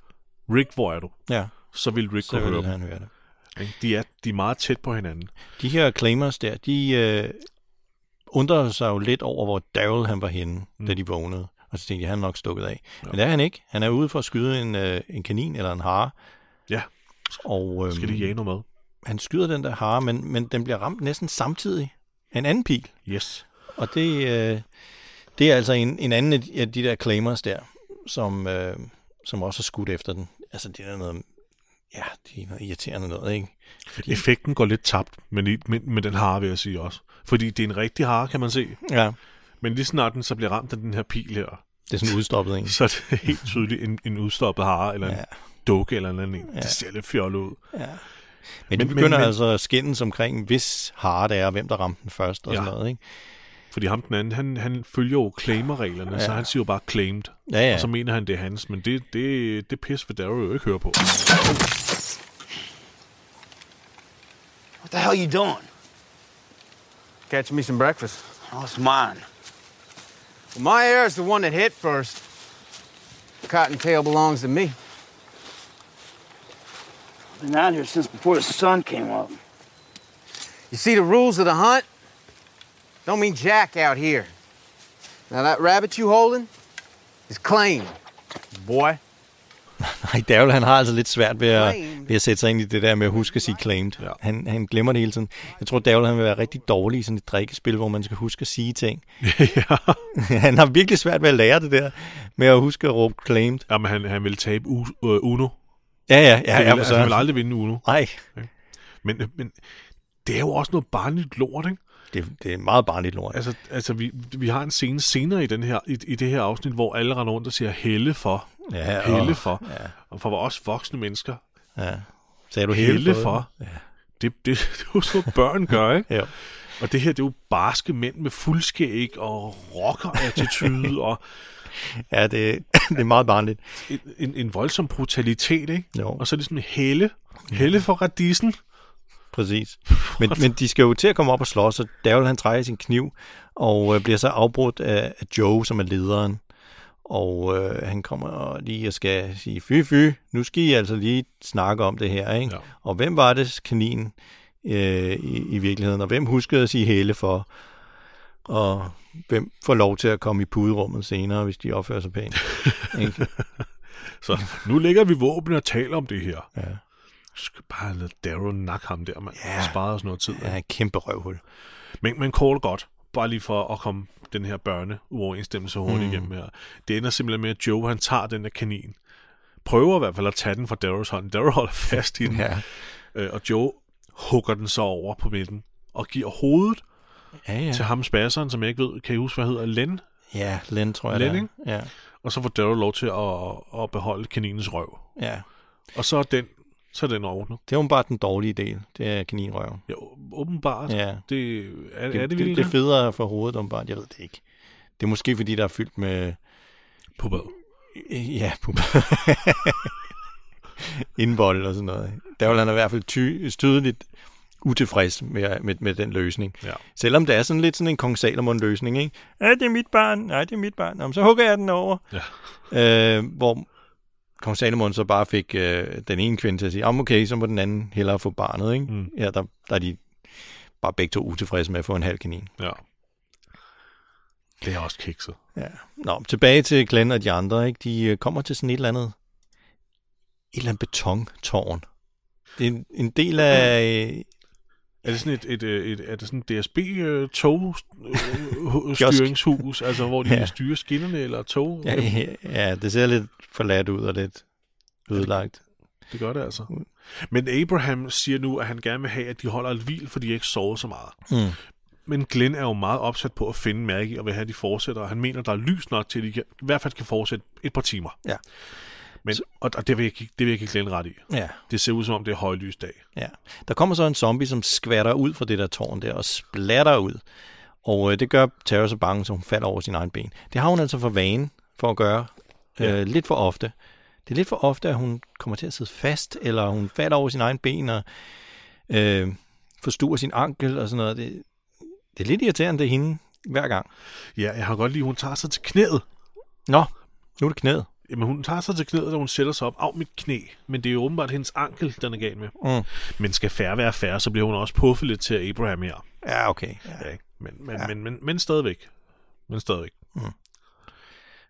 [SPEAKER 1] Rick, hvor er du?
[SPEAKER 4] ja,
[SPEAKER 1] Så vil Rick
[SPEAKER 4] så
[SPEAKER 1] kunne høre
[SPEAKER 4] vil
[SPEAKER 1] dem.
[SPEAKER 4] han høre det.
[SPEAKER 1] ikke? De er, de er meget tæt på hinanden.
[SPEAKER 4] De her claimers der, de øh, undrede sig jo lidt over, hvor Daryl han var henne, mm. da de vågnede. Og så tænkte jeg, han er nok stukket af. Ja. Men det er han ikke. Han er ude for at skyde en, øh, en kanin eller en hare.
[SPEAKER 1] Ja,
[SPEAKER 4] Og øhm,
[SPEAKER 1] skal de jage noget
[SPEAKER 4] han skyder den der hare, men, men den bliver ramt næsten samtidig af en anden pil.
[SPEAKER 1] med? Yes.
[SPEAKER 4] Og det, øh, det er altså en, en anden af de- af de der claimers der, som, øh, som også har skudt efter den. Altså det er noget, ja, det er noget irriterende noget, ikke? Fordi,
[SPEAKER 1] Effekten går lidt tabt, men, i, men, men den har, vil jeg sige også. Fordi det er en rigtig hare, kan man se.
[SPEAKER 4] ja,
[SPEAKER 1] Men lige snart den så bliver ramt af den her pil her,
[SPEAKER 4] det er sådan udstoppet en.
[SPEAKER 1] så er det <laughs> helt tydeligt en, en udstoppet hare, eller en
[SPEAKER 4] Ja.
[SPEAKER 1] ja. dukke, eller en eller anden. Ja. Det ser lidt fjollet ud.
[SPEAKER 4] Men,
[SPEAKER 1] Men-
[SPEAKER 4] men de
[SPEAKER 1] men-
[SPEAKER 4] begynder men,
[SPEAKER 1] men-
[SPEAKER 4] altså at skændes omkring, hvis hare det er, og hvem der ramte den først og ja.
[SPEAKER 1] Ja.
[SPEAKER 4] sådan noget, ikke?
[SPEAKER 1] Fordi ham den anden, han, han følger jo claimer-reglerne, ja. så han siger jo bare claimed.
[SPEAKER 4] Ja, ja.
[SPEAKER 1] Og så mener han, det er hans, men det, det, det pis vil Daryl jo ikke høre
[SPEAKER 4] <laughs>
[SPEAKER 1] på.
[SPEAKER 6] What the hell you doing?
[SPEAKER 7] Catch me some breakfast.
[SPEAKER 6] Oh, it's mine.
[SPEAKER 7] Well, my air is the one that hit first. The cottontail belongs to me.
[SPEAKER 6] Been out here since before the sun came up.
[SPEAKER 7] You see the rules of the hunt? Don't mean jack out here. Now that rabbit you holding is claimed, boy.
[SPEAKER 4] Nej, Daryl, han har altså lidt svært ved at,
[SPEAKER 7] Claimed.
[SPEAKER 4] ved at sætte sig ind i det der med at huske at sige claimed. Ja.
[SPEAKER 1] Ja.
[SPEAKER 4] Han, han glemmer det hele tiden. Jeg tror, Daryl, han vil være rigtig dårlig i sådan et drikkespil, hvor man skal huske at sige ting. <laughs>
[SPEAKER 1] ja.
[SPEAKER 4] han har virkelig svært ved at lære det der med at huske at råbe claimed.
[SPEAKER 1] Jamen, han, han vil tabe u, øh, Uno.
[SPEAKER 4] Ja, ja, ja,
[SPEAKER 1] Ja,
[SPEAKER 4] ja,
[SPEAKER 1] han,
[SPEAKER 4] for
[SPEAKER 1] vil, altså, han vil
[SPEAKER 4] søren.
[SPEAKER 1] aldrig vinde Uno.
[SPEAKER 4] Nej,
[SPEAKER 1] Men, men det er jo også noget barnligt lort, ikke?
[SPEAKER 4] det, det er meget barnligt lort.
[SPEAKER 1] Altså, altså vi, vi har en scene senere i, den her, i, i det her afsnit, hvor alle render rundt og siger helle for.
[SPEAKER 4] Ja,
[SPEAKER 1] helle
[SPEAKER 4] og-
[SPEAKER 1] for. Ja. Og for os voksne mennesker.
[SPEAKER 4] Ja. Sagde du hele,
[SPEAKER 1] Helle
[SPEAKER 4] fået?
[SPEAKER 1] for. Ja. Det, det, <laughs> det er jo så børn gør, ikke?
[SPEAKER 4] Ja.
[SPEAKER 1] Og det her, det er jo barske mænd med fuldskæg og
[SPEAKER 4] <laughs>
[SPEAKER 1] rocker-attitude og
[SPEAKER 4] Ja, det, <laughs> det er meget barnligt.
[SPEAKER 1] en, en, en voldsom brutalitet, ikke?
[SPEAKER 4] Jo.
[SPEAKER 1] Og så er det sådan helle. Helle for radisen. <laughs>
[SPEAKER 4] Præcis. Men, men de skal jo til at komme op og slås, og Daryl han trækker sin kniv, og øh, bliver så afbrudt af, af Joe, som er lederen. Og øh, han kommer og lige og skal sige, fy fy, nu skal I altså lige snakke om det her, ikke?
[SPEAKER 1] Ja.
[SPEAKER 4] Og hvem var det kaninen øh, i, i virkeligheden, og hvem huskede at sige hele for? Og hvem får lov til at komme i puderummet senere, hvis de opfører
[SPEAKER 1] <laughs>
[SPEAKER 4] sig pænt? ikke?
[SPEAKER 1] Så nu lægger vi våben og taler om det her. Ja. Du skal bare lade Daryl nakke ham der, man. Ja. Sparer os noget tid.
[SPEAKER 4] Ja,
[SPEAKER 1] Ja.
[SPEAKER 4] et kæmpe røvhul.
[SPEAKER 1] Men, men kort og godt, bare lige for at komme den her børne uoverensstemmelse hurtigt mm. igennem her. Det ender simpelthen med, at Joe han tager den der kanin. Prøver i hvert fald at tage den fra Daryls hånd. Daryl holder fast i den.
[SPEAKER 4] Ja.
[SPEAKER 1] Øh, og Joe hugger den så over på midten og giver hovedet
[SPEAKER 4] Ja, ja.
[SPEAKER 1] ja. til ham spasseren, som jeg ikke ved, kan I huske, hvad hedder, Len?
[SPEAKER 4] Ja, Len tror jeg.
[SPEAKER 1] Len,
[SPEAKER 4] det er.
[SPEAKER 1] ikke?
[SPEAKER 4] Ja,
[SPEAKER 1] Og så får Daryl lov til at, at beholde kaninens røv.
[SPEAKER 4] ja.
[SPEAKER 1] Og så er den Så er den ordner.
[SPEAKER 4] Det er åbenbart den dårlige del. Det er kaninrøven.
[SPEAKER 1] Ja, å- åbenbart.
[SPEAKER 4] Ja.
[SPEAKER 1] Det, er, det, er det,
[SPEAKER 4] det,
[SPEAKER 1] virkelig
[SPEAKER 4] det, det er federe for hovedet, åbenbart. Jeg ved det ikke. Det er måske, fordi der er fyldt med...
[SPEAKER 1] På hvad?
[SPEAKER 4] Øh, Ja, pup- <laughs> indvold og sådan noget. Der vil han i hvert fald ty- tydeligt utilfreds med, med, med den løsning.
[SPEAKER 1] Ja.
[SPEAKER 4] Selvom det er sådan lidt sådan en kong Salomon løsning, ikke? Ja, det er mit barn. Nej, det er mit barn. Jamen, så hugger jeg den over. Ja. Øh, hvor kong Salomon så bare fik øh, den ene kvinde til at sige, "Jamen, okay, så må den anden hellere få barnet, ikke? Mm. Ja, der, der er de bare begge to utilfredse med at få en halv kanin.
[SPEAKER 1] Ja. Det er også kikset.
[SPEAKER 4] Ja. Nå, tilbage til Glenn og de andre, ikke? De øh, kommer til sådan et eller andet, et eller andet betontårn. Det er en, en del af... Øh,
[SPEAKER 1] Er det sådan et, et, øh, et, er det sådan et DSB øh, tog øh, styringshus, altså hvor de
[SPEAKER 4] <laughs> Ja.
[SPEAKER 1] ja. styrer skinnerne eller tog?
[SPEAKER 4] ja, ja, <laughs> ja, det ser lidt forladt ud og lidt ødelagt.
[SPEAKER 1] Det gør det altså. Men Abraham siger nu, at han gerne vil have, at de holder et hvil, fordi de ikke sover så meget.
[SPEAKER 4] Mm.
[SPEAKER 1] Men Glenn er jo meget opsat på at finde Maggie og vil have, at de fortsætter, og han mener, der er lys nok til, at de kan, i hvert fald kan fortsætte et par timer.
[SPEAKER 4] Ja.
[SPEAKER 1] Men, og, og det, vil jeg, ikke- det vil jeg ikke Glenn ret i.
[SPEAKER 4] Ja,
[SPEAKER 1] Det ser ud som om, det er højlys dag.
[SPEAKER 4] ja. Der kommer så en zombie, som skvatter ud fra det der tårn der og splatter ud. Og øh, det gør Tara så bange, så hun falder over sin egen ben. Det har hun altså for vane for at gøre øh,
[SPEAKER 1] Ja.
[SPEAKER 4] lidt for ofte. Det er lidt for ofte, at hun kommer til at sidde fast, eller hun falder over sin egen ben og øh, forstuer sin ankel og sådan noget. Det, det er lidt irriterende, det er hende hver gang.
[SPEAKER 1] Ja, jeg har godt lide, at hun tager sig til knæet.
[SPEAKER 4] Nå, nu er det knæet.
[SPEAKER 1] Jamen, hun tager sig til knæet, da hun sætter sig op. Af mit knæ. Men det er jo åbenbart hendes ankel, den er gal med.
[SPEAKER 4] Mm.
[SPEAKER 1] Men skal færre være færre, så bliver hun også puffet lidt til Abraham her.
[SPEAKER 4] Ja, okay. Ja.
[SPEAKER 1] Ja, ikke? Men, men, ja. men, men, men stadigvæk. Men stadigvæk.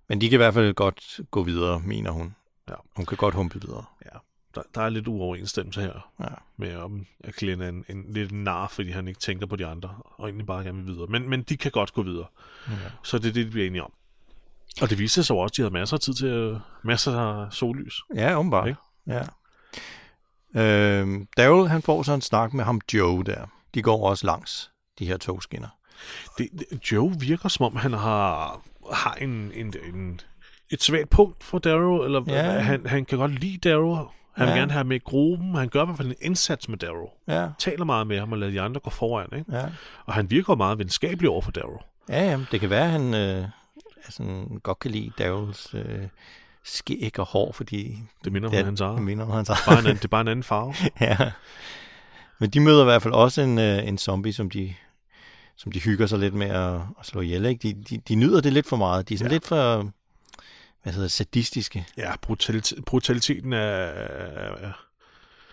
[SPEAKER 4] Men de kan i hvert fald godt gå videre, mener hun.
[SPEAKER 1] Ja.
[SPEAKER 4] Hun kan godt humpe videre.
[SPEAKER 1] Ja. Der, der er lidt uoverensstemmelse her
[SPEAKER 4] Ja.
[SPEAKER 1] med, om at Glenn er en, en lidt nar, fordi han ikke tænker på de andre, og egentlig bare gerne vil videre. Men, men de kan godt gå videre. Okay. Så det er det, de bliver enige om. Og det viste sig jo også, at de havde masser af tid til øh, masser af sollys.
[SPEAKER 4] Ja, åbenbart.
[SPEAKER 1] Ikke?
[SPEAKER 4] Ja. Øhm, Daryl, han får så en snak med ham Joe der. De går også langs de her togskinner.
[SPEAKER 1] Det, det, Joe virker som om, han har, har en, en, en, et svagt punkt for Darrow, eller
[SPEAKER 4] Ja.
[SPEAKER 1] ja. han, han kan godt lide Darrow. Han ja.
[SPEAKER 4] Ja.
[SPEAKER 1] vil gerne have ham med i gruppen. Han gør i hvert fald en indsats med Darrow.
[SPEAKER 4] Ja,
[SPEAKER 1] Taler meget med ham og lader de andre gå foran. Ikke?
[SPEAKER 4] ja.
[SPEAKER 1] Og han virker jo meget venskabelig over for Darrow.
[SPEAKER 4] Ja, jamen, det kan være, at han øh, altså, godt kan lide Daryls øh, skæg og hår, fordi
[SPEAKER 1] Det minder om
[SPEAKER 4] det
[SPEAKER 1] hans eget.
[SPEAKER 4] minder om hans
[SPEAKER 1] Bare en
[SPEAKER 4] eget.
[SPEAKER 1] anden, det er bare en anden <laughs> farve.
[SPEAKER 4] <laughs> ja. Men de møder i hvert fald også en, øh, en zombie, som de som de hygger sig lidt med at, at slå ihjel. Ikke? De, de, de nyder det lidt for meget. De er sådan ja. lidt for hvad hedder, det, sadistiske,
[SPEAKER 1] Ja, brutalit- brutaliteten er...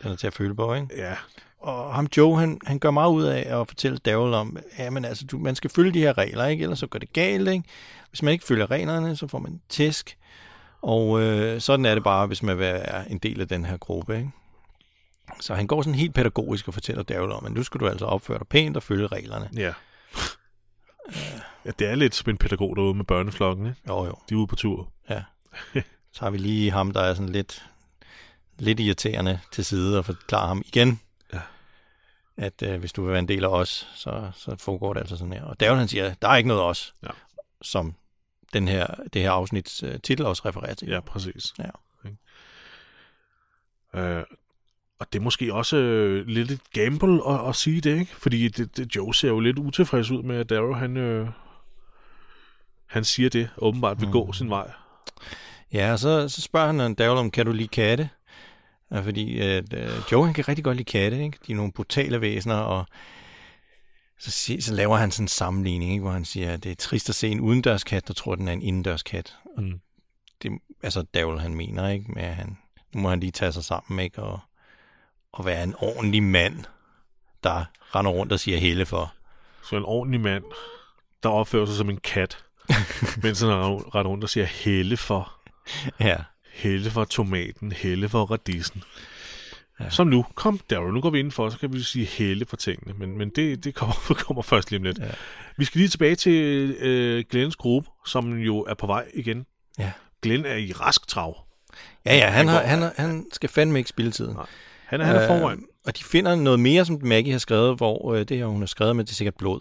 [SPEAKER 4] den er til at føle på. Ikke?
[SPEAKER 1] Ja,
[SPEAKER 4] og ham Joe, han, han gør meget ud af at fortælle Daryl om, ja, men altså, du, man skal følge de her regler, ikke? Ellers så går det galt, ikke? Hvis man ikke følger reglerne, så får man tæsk. Og øh, sådan er det bare, hvis man vil være en del af den her gruppe, ikke? Så han går sådan helt pædagogisk og fortæller Daryl om, at nu skal du altså opføre dig pænt og følge reglerne.
[SPEAKER 1] ja. ja, det er lidt som en pædagog derude med børneflokken. Ikke?
[SPEAKER 4] Jo, jo.
[SPEAKER 1] De er ude på tur.
[SPEAKER 4] Ja. Så har vi lige ham, der er sådan lidt, lidt irriterende til side og forklarer ham igen,
[SPEAKER 1] Ja.
[SPEAKER 4] at øh, hvis du vil være en del af os, så, så foregår det altså sådan her. Og David han siger, der er ikke noget os,
[SPEAKER 1] Ja.
[SPEAKER 4] som den her, det her afsnits øh, titel også refererer til.
[SPEAKER 1] Ja, præcis.
[SPEAKER 4] Ja.
[SPEAKER 1] Øh, og det er måske også øh, lidt et gamble at, at sige det, ikke? Fordi det, det, Joe ser jo lidt utilfreds ud med, at Darrow, han, øh, han siger det, åbenbart vil mm. gå sin vej.
[SPEAKER 4] ja og så, så spørger han David om, kan du lide katte? Ja, fordi øh, øh, Joe han kan rigtig godt lide katte, ikke? de er nogle brutale væsener, og så, si- så laver han sådan en sammenligning, ikke? hvor han siger, at det er trist at se en udendørskat, der tror, den er en indendørskat.
[SPEAKER 1] Mm.
[SPEAKER 4] det, altså Davl, han mener, ikke? Med at han, nu må han lige tage sig sammen, ikke? Og, og være en ordentlig mand, der render rundt og siger hele for.
[SPEAKER 1] Så en ordentlig mand, der opfører sig som en kat, mens han render render rundt og siger, helle for,
[SPEAKER 4] Ja.
[SPEAKER 1] helle for tomaten, helle for radisen. Ja. Som nu, kom Darrow, nu går vi indenfor, så kan vi sige helle for tingene, men, men det, det kommer, <laughs> kommer først lige om lidt. Ja. Vi skal lige tilbage til øh, Glens gruppe, som jo er på vej igen.
[SPEAKER 4] Ja.
[SPEAKER 1] Glenn er i rask trav.
[SPEAKER 4] Ja, ja, han, har, han, har, han skal fandme ikke spille tiden.
[SPEAKER 1] Han er, han er
[SPEAKER 4] Øh.
[SPEAKER 1] foran.
[SPEAKER 4] og de finder noget mere, som Maggie har skrevet, hvor øh, det her, hun har skrevet med, det er sikkert blod.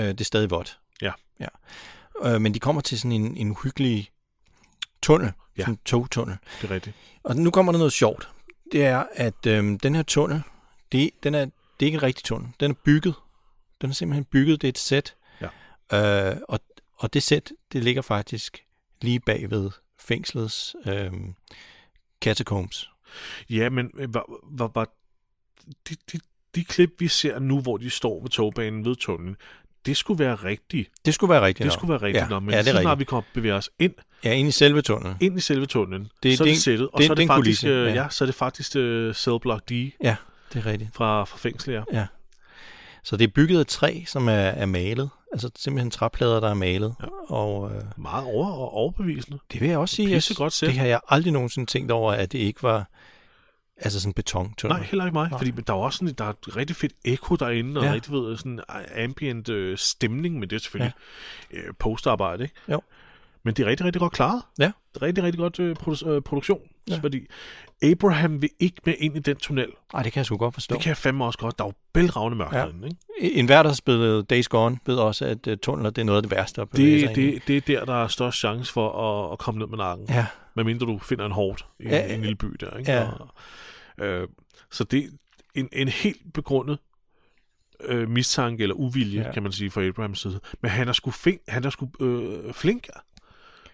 [SPEAKER 4] Øh, det er stadig vådt.
[SPEAKER 1] Ja.
[SPEAKER 4] ja. Øh, men de kommer til sådan en, en uhyggelig tunnel, ja.
[SPEAKER 1] Ja.
[SPEAKER 4] sådan en togtunnel.
[SPEAKER 1] Det er rigtigt.
[SPEAKER 4] Og nu kommer der noget sjovt. det er, at øhm, den her tunnel, det, den er, det er ikke en rigtig tunnel. Den er bygget. Den er simpelthen bygget. Det er et sæt. Ja. Øh, og, og det sæt, det ligger faktisk lige bagved fængslets øhm, catacombs.
[SPEAKER 1] Ja, men øh, var, var, var de, de, de klip, vi ser nu, hvor de står ved togbanen ved tunnelen, det skulle være rigtigt.
[SPEAKER 4] Det skulle være rigtigt
[SPEAKER 1] Det skulle være rigtigt,
[SPEAKER 4] ja.
[SPEAKER 1] ja. men
[SPEAKER 4] ja,
[SPEAKER 1] ja,
[SPEAKER 4] det er
[SPEAKER 1] så snart
[SPEAKER 4] rigtigt.
[SPEAKER 1] vi kommer, bevæger os ind,
[SPEAKER 4] Ja, inde i selve tunnelen.
[SPEAKER 1] ind i selve tunnelen,
[SPEAKER 4] Det-
[SPEAKER 1] det, så er
[SPEAKER 4] det-
[SPEAKER 1] det sættet, og
[SPEAKER 4] det-
[SPEAKER 1] så, er
[SPEAKER 4] det er en
[SPEAKER 1] det faktisk,
[SPEAKER 4] kulisse,
[SPEAKER 1] øh,
[SPEAKER 4] ja.
[SPEAKER 1] ja. så er det faktisk uh, Cell Block D
[SPEAKER 4] Ja, det er rigtigt.
[SPEAKER 1] fra, fra fængslet, ja.
[SPEAKER 4] Ja. Så det er bygget af træ, som er, er malet. Altså simpelthen træplader, der er malet. Ja. Og øh,
[SPEAKER 1] Meget over, og overbevisende.
[SPEAKER 4] det vil jeg også sige,
[SPEAKER 1] Pissegodt sæt.
[SPEAKER 4] det har jeg aldrig nogensinde tænkt over, at det ikke var altså sådan betontunnel.
[SPEAKER 1] Nej, heller ikke mig, Nej. fordi men der er også sådan, der er et rigtig fedt ekko derinde, og
[SPEAKER 4] Ja.
[SPEAKER 1] ja. rigtig ved, sådan ambient øh, stemning, men det er selvfølgelig ja. øh, postarbejde, ikke?
[SPEAKER 4] Jo.
[SPEAKER 1] Men det er rigtig, rigtig godt klaret.
[SPEAKER 4] Ja.
[SPEAKER 1] Det er rigtig, rigtig godt øh, produ- øh, produktion, ja. fordi Abraham vil ikke med ind i den tunnel.
[SPEAKER 4] Nej, det kan jeg sgu godt forstå.
[SPEAKER 1] Det kan jeg fandme også godt. Der er jo bælragende mørkt
[SPEAKER 4] Ja.
[SPEAKER 1] ja. derinde, ikke?
[SPEAKER 4] En hver, der har spillet Days Gone, ved også, at uh, tunneler det er noget af det værste at bevæge sig
[SPEAKER 1] Det,
[SPEAKER 4] ind i.
[SPEAKER 1] det, det er der, der er størst chance for at, at komme ned med nakken.
[SPEAKER 4] Ja,
[SPEAKER 1] Medmindre du finder en hårdt i
[SPEAKER 4] Ja,
[SPEAKER 1] ja, en lille by der. Ikke?
[SPEAKER 4] ja.
[SPEAKER 1] Og, øh, så det er en, en helt begrundet øh, mistanke eller uvilje,
[SPEAKER 4] Ja.
[SPEAKER 1] ja. kan man sige, fra Abrahams side. Men han er sgu, fin, han er sgu øh, flink. ja.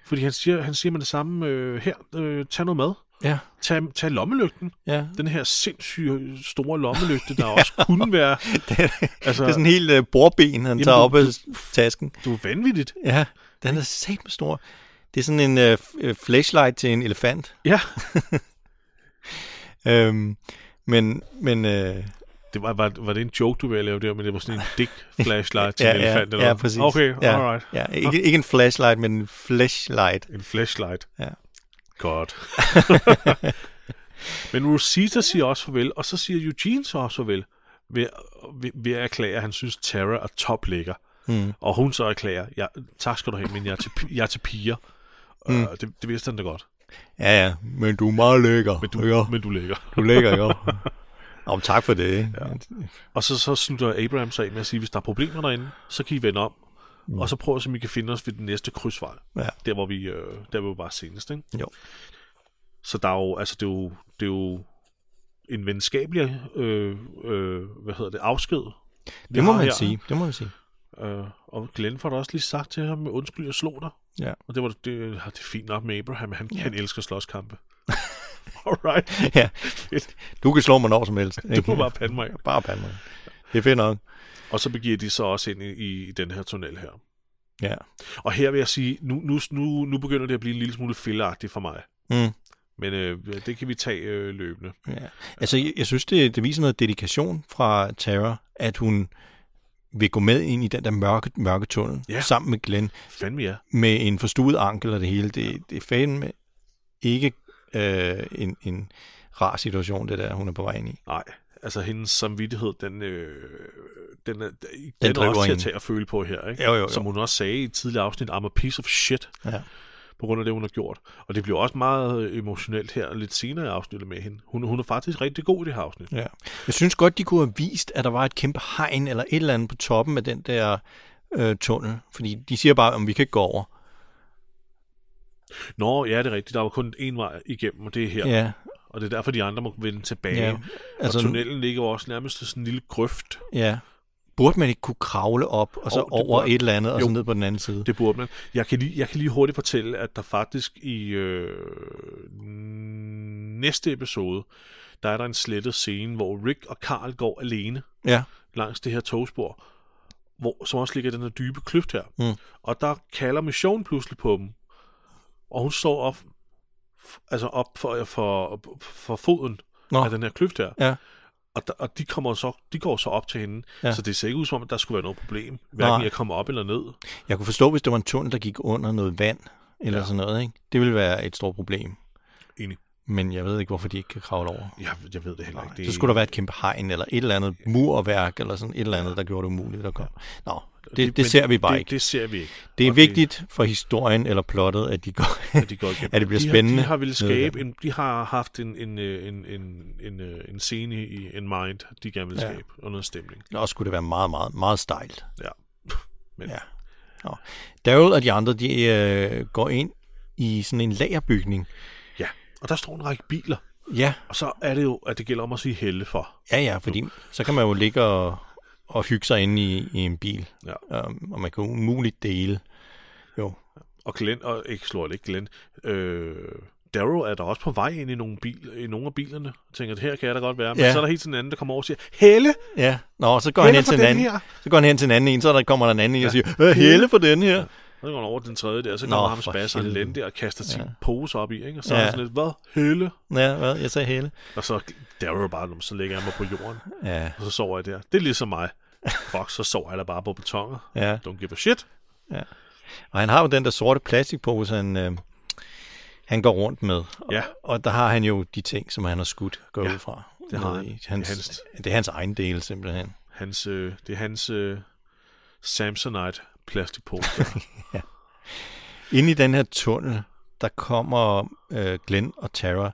[SPEAKER 1] Fordi han siger, han siger med det samme, øh, her, øh, tag noget med.
[SPEAKER 4] ja,
[SPEAKER 1] Tag, tag lommelygten. <laughs>
[SPEAKER 4] ja.
[SPEAKER 1] Den her sindssyge store lommelygte,
[SPEAKER 4] <laughs>
[SPEAKER 1] der også kunne være... altså,
[SPEAKER 4] Det er sådan en helt uh, bordben, han
[SPEAKER 1] Jamen,
[SPEAKER 4] tager
[SPEAKER 1] du-
[SPEAKER 4] op af tasken.
[SPEAKER 1] du er vanvittigt.
[SPEAKER 4] Ja, den er sat med stor. Det er sådan en uh, f- øh, flashlight til en elefant.
[SPEAKER 1] Ja,
[SPEAKER 4] Øhm, men, men øh,
[SPEAKER 1] Det var, var, var det en joke, du ville lave der, men det var sådan en
[SPEAKER 4] <laughs>
[SPEAKER 1] dick flashlight til
[SPEAKER 4] ja,
[SPEAKER 1] en elefant?
[SPEAKER 4] ja,
[SPEAKER 1] eller
[SPEAKER 4] ja,
[SPEAKER 1] hvad?
[SPEAKER 4] præcis.
[SPEAKER 1] Okay,
[SPEAKER 4] ja,
[SPEAKER 1] alright.
[SPEAKER 4] Ja, ikke, ikke en flashlight, men en flashlight.
[SPEAKER 1] En flashlight.
[SPEAKER 4] Ja.
[SPEAKER 1] <laughs> Godt. men Rosita siger også farvel, og så siger Eugene så også farvel, ved, ved, ved at erklære, at han synes, Tara er toplækker. Mm. Og hun så erklærer, jeg, tak skal du have, men jeg er til, pi- jeg er til piger. Mm. Uh, det, det vidste han da godt.
[SPEAKER 4] Ja, ja, men du er meget lækker. Men
[SPEAKER 1] Du,
[SPEAKER 4] jo,
[SPEAKER 1] Men du lækker.
[SPEAKER 4] du er
[SPEAKER 1] <laughs>
[SPEAKER 4] lækker, jo. Om tak for det. ikke?
[SPEAKER 1] Og så, så slutter Abraham sig af med at sige, hvis der er problemer derinde, så kan I vende om. Mm. Og så prøv at se, om I kan finde os ved den næste krydsvej.
[SPEAKER 4] Ja.
[SPEAKER 1] Der, hvor vi, øh, der hvor vi var senest. Ikke?
[SPEAKER 4] Jo.
[SPEAKER 1] Så der er jo, altså, det, er jo, det er jo en venskabelig øh, øh, hvad hedder det, afsked.
[SPEAKER 4] Det må man sige. Det må man sige.
[SPEAKER 1] Øh, og Glenn får da også lige sagt til ham, undskyld, jeg slog dig.
[SPEAKER 4] Ja.
[SPEAKER 1] Og det var det, det, det er fint nok med Abraham, han, ja. han elsker slåskampe. Alright,
[SPEAKER 4] ja.
[SPEAKER 1] <laughs> fedt.
[SPEAKER 4] Du kan slå mig når som helst.
[SPEAKER 1] Du
[SPEAKER 4] <laughs>
[SPEAKER 1] må bare pande mig.
[SPEAKER 4] Bare pande mig. Det er fedt nok.
[SPEAKER 1] Og så begiver de sig også ind i, i, i den her tunnel her.
[SPEAKER 4] Ja.
[SPEAKER 1] Og her vil jeg sige, nu, nu, nu, nu begynder det at blive en lille smule fældeagtigt for mig.
[SPEAKER 4] Mm.
[SPEAKER 1] Men øh, det kan vi tage øh, løbende.
[SPEAKER 4] ja. Altså, jeg, jeg synes, det, det viser noget dedikation fra Tara, at hun vil gå med ind i den der mørke, mørke tunnel
[SPEAKER 1] Ja.
[SPEAKER 4] sammen med Glenn
[SPEAKER 1] Fanden ja.
[SPEAKER 4] med en forstuet ankel og det hele. Det, det er fandme ikke øh, en, en rar situation, det der, hun er på vej ind i.
[SPEAKER 1] Nej, altså hendes samvittighed, den, øh, den, er, den, er
[SPEAKER 4] driver
[SPEAKER 1] også til at
[SPEAKER 4] hende.
[SPEAKER 1] tage at føle på her. Ikke?
[SPEAKER 4] Jo, jo, jo.
[SPEAKER 1] Som hun også sagde i et tidligere afsnit, I'm a piece of shit,
[SPEAKER 4] Ja.
[SPEAKER 1] på grund af det, hun har gjort. Og det bliver også meget øh, emotionelt her lidt senere i afsnittet med hende. Hun, hun er faktisk rigtig god i det her afsnit.
[SPEAKER 4] Ja. Jeg synes godt, de kunne have vist, at der var et kæmpe hegn eller et eller andet på toppen af den der øh, tunnel. Fordi de siger bare, om vi kan ikke gå over.
[SPEAKER 1] Nå, ja, det er rigtigt. Der var kun én vej igennem, og det er her.
[SPEAKER 4] Ja,
[SPEAKER 1] Og det er derfor, de andre må vende tilbage.
[SPEAKER 4] ja.
[SPEAKER 1] Ja. Altså,
[SPEAKER 4] Altså,
[SPEAKER 1] og tunnelen ligger jo også nærmest i sådan en lille grøft.
[SPEAKER 4] ja. Burde man ikke kunne kravle op og så
[SPEAKER 1] Jo, det
[SPEAKER 4] over
[SPEAKER 1] burde-
[SPEAKER 4] et eller andet og så
[SPEAKER 1] jo.
[SPEAKER 4] ned på den anden side?
[SPEAKER 1] Det burde man. Jeg kan lige, jeg kan lige hurtigt fortælle, at der faktisk i øh, næste episode, der er der en slettet scene, hvor Rick og Carl går alene
[SPEAKER 4] Ja,
[SPEAKER 1] langs det her togspor, hvor, som også ligger i den her dybe kløft her. Mm. Og der kalder missionen pludselig på dem, og hun står op, altså op for, for, for foden
[SPEAKER 4] Nå.
[SPEAKER 1] af den her kløft her.
[SPEAKER 4] ja.
[SPEAKER 1] Og, der, og de, kommer så, de går så op til hende,
[SPEAKER 4] Ja.
[SPEAKER 1] ja. så det ser ikke ud som om, at der skulle være noget problem, hverken
[SPEAKER 4] Nej.
[SPEAKER 1] i at komme op eller ned.
[SPEAKER 4] Jeg kunne forstå, hvis det var en tunnel, der gik under noget vand eller ja.
[SPEAKER 1] Ja.
[SPEAKER 4] sådan noget. Ikke? Det ville være et stort problem.
[SPEAKER 1] Enig.
[SPEAKER 4] Men jeg ved ikke, hvorfor de ikke kan kravle over.
[SPEAKER 1] Jeg, jeg ved det heller ikke.
[SPEAKER 4] Det... Så skulle der være et kæmpe hegn eller et eller andet murværk eller sådan et eller andet, der gjorde det umuligt at komme. Nå, det, det, det
[SPEAKER 1] men
[SPEAKER 4] ser vi bare
[SPEAKER 1] det,
[SPEAKER 4] ikke.
[SPEAKER 1] Det ser vi ikke.
[SPEAKER 4] Det er
[SPEAKER 1] Og
[SPEAKER 4] vigtigt for historien eller plottet, at de går,
[SPEAKER 1] at de går igennem.
[SPEAKER 4] <laughs> at det bliver
[SPEAKER 1] de
[SPEAKER 4] spændende.
[SPEAKER 1] Har, de har ville
[SPEAKER 4] Noget
[SPEAKER 1] skabe
[SPEAKER 4] af
[SPEAKER 1] en, de har haft en, en, øh, en, en, en, øh, en scene i en mind, de gerne vil
[SPEAKER 4] Ja.
[SPEAKER 1] skabe, og noget stemning.
[SPEAKER 4] det. Og skulle det være meget, meget, meget stejlt.
[SPEAKER 1] Ja. Men
[SPEAKER 4] Ja.
[SPEAKER 1] ja.
[SPEAKER 4] Nå. Daryl og de andre, de øh, går ind i sådan en lagerbygning.
[SPEAKER 1] ja. Og der står en række biler.
[SPEAKER 4] Ja,
[SPEAKER 1] Og så er det jo, at det gælder om at sige helle for.
[SPEAKER 4] ja, ja, fordi så kan man jo ligge og, og hygge sig inde i, i en bil.
[SPEAKER 1] Ja.
[SPEAKER 4] Um, og man kan umuligt dele. Jo,
[SPEAKER 1] Og Glenn, og ikke slår ikke Glenn, øh, Darrow er der også på vej ind i nogle, bil, i nogle af bilerne, og tænker, at her kan jeg da godt være. Men
[SPEAKER 4] Ja.
[SPEAKER 1] ja. så er der helt sådan en anden, der kommer over og siger, Helle!
[SPEAKER 4] Ja, Nå, så går han
[SPEAKER 1] Helle
[SPEAKER 4] hen
[SPEAKER 1] for
[SPEAKER 4] til en
[SPEAKER 1] den
[SPEAKER 4] anden.
[SPEAKER 1] her.
[SPEAKER 4] Så går han hen til en anden en, så der kommer der en anden en og siger, Hvad hele for den her?
[SPEAKER 1] Så går han over den tredje der, så
[SPEAKER 4] Nå,
[SPEAKER 1] kommer ham
[SPEAKER 4] for
[SPEAKER 1] spasser en
[SPEAKER 4] helvede.
[SPEAKER 1] lende der og kaster sin ja. pose op i, ikke? og så ja. er
[SPEAKER 4] Ja.
[SPEAKER 1] han sådan lidt, hvad? Helle!
[SPEAKER 4] Ja, hvad? Jeg sagde hele.
[SPEAKER 1] Og så Darrow bare, "Nå, så lægger jeg mig på jorden,
[SPEAKER 4] Ja,
[SPEAKER 1] og så sover jeg der. Det er ligesom
[SPEAKER 4] <laughs>
[SPEAKER 1] mig. Fuck, så sover jeg da bare på betonger.
[SPEAKER 4] ja.
[SPEAKER 1] Don't give a shit.
[SPEAKER 4] Og han har jo den der sorte plastikpose, han, øh, han går rundt med. Og,
[SPEAKER 1] Ja.
[SPEAKER 4] og der har han jo de ting, som han har skudt, går ja, ud fra.
[SPEAKER 1] det har
[SPEAKER 4] Ned
[SPEAKER 1] han.
[SPEAKER 4] i
[SPEAKER 1] Det er
[SPEAKER 4] Hans,
[SPEAKER 1] hans.
[SPEAKER 4] det er hans egen del, simpelthen.
[SPEAKER 1] Hans, øh, det er hans øh, Samsonite plastikpose.
[SPEAKER 4] <laughs> Inde i den her tunnel, der kommer øh, Glenn og Tara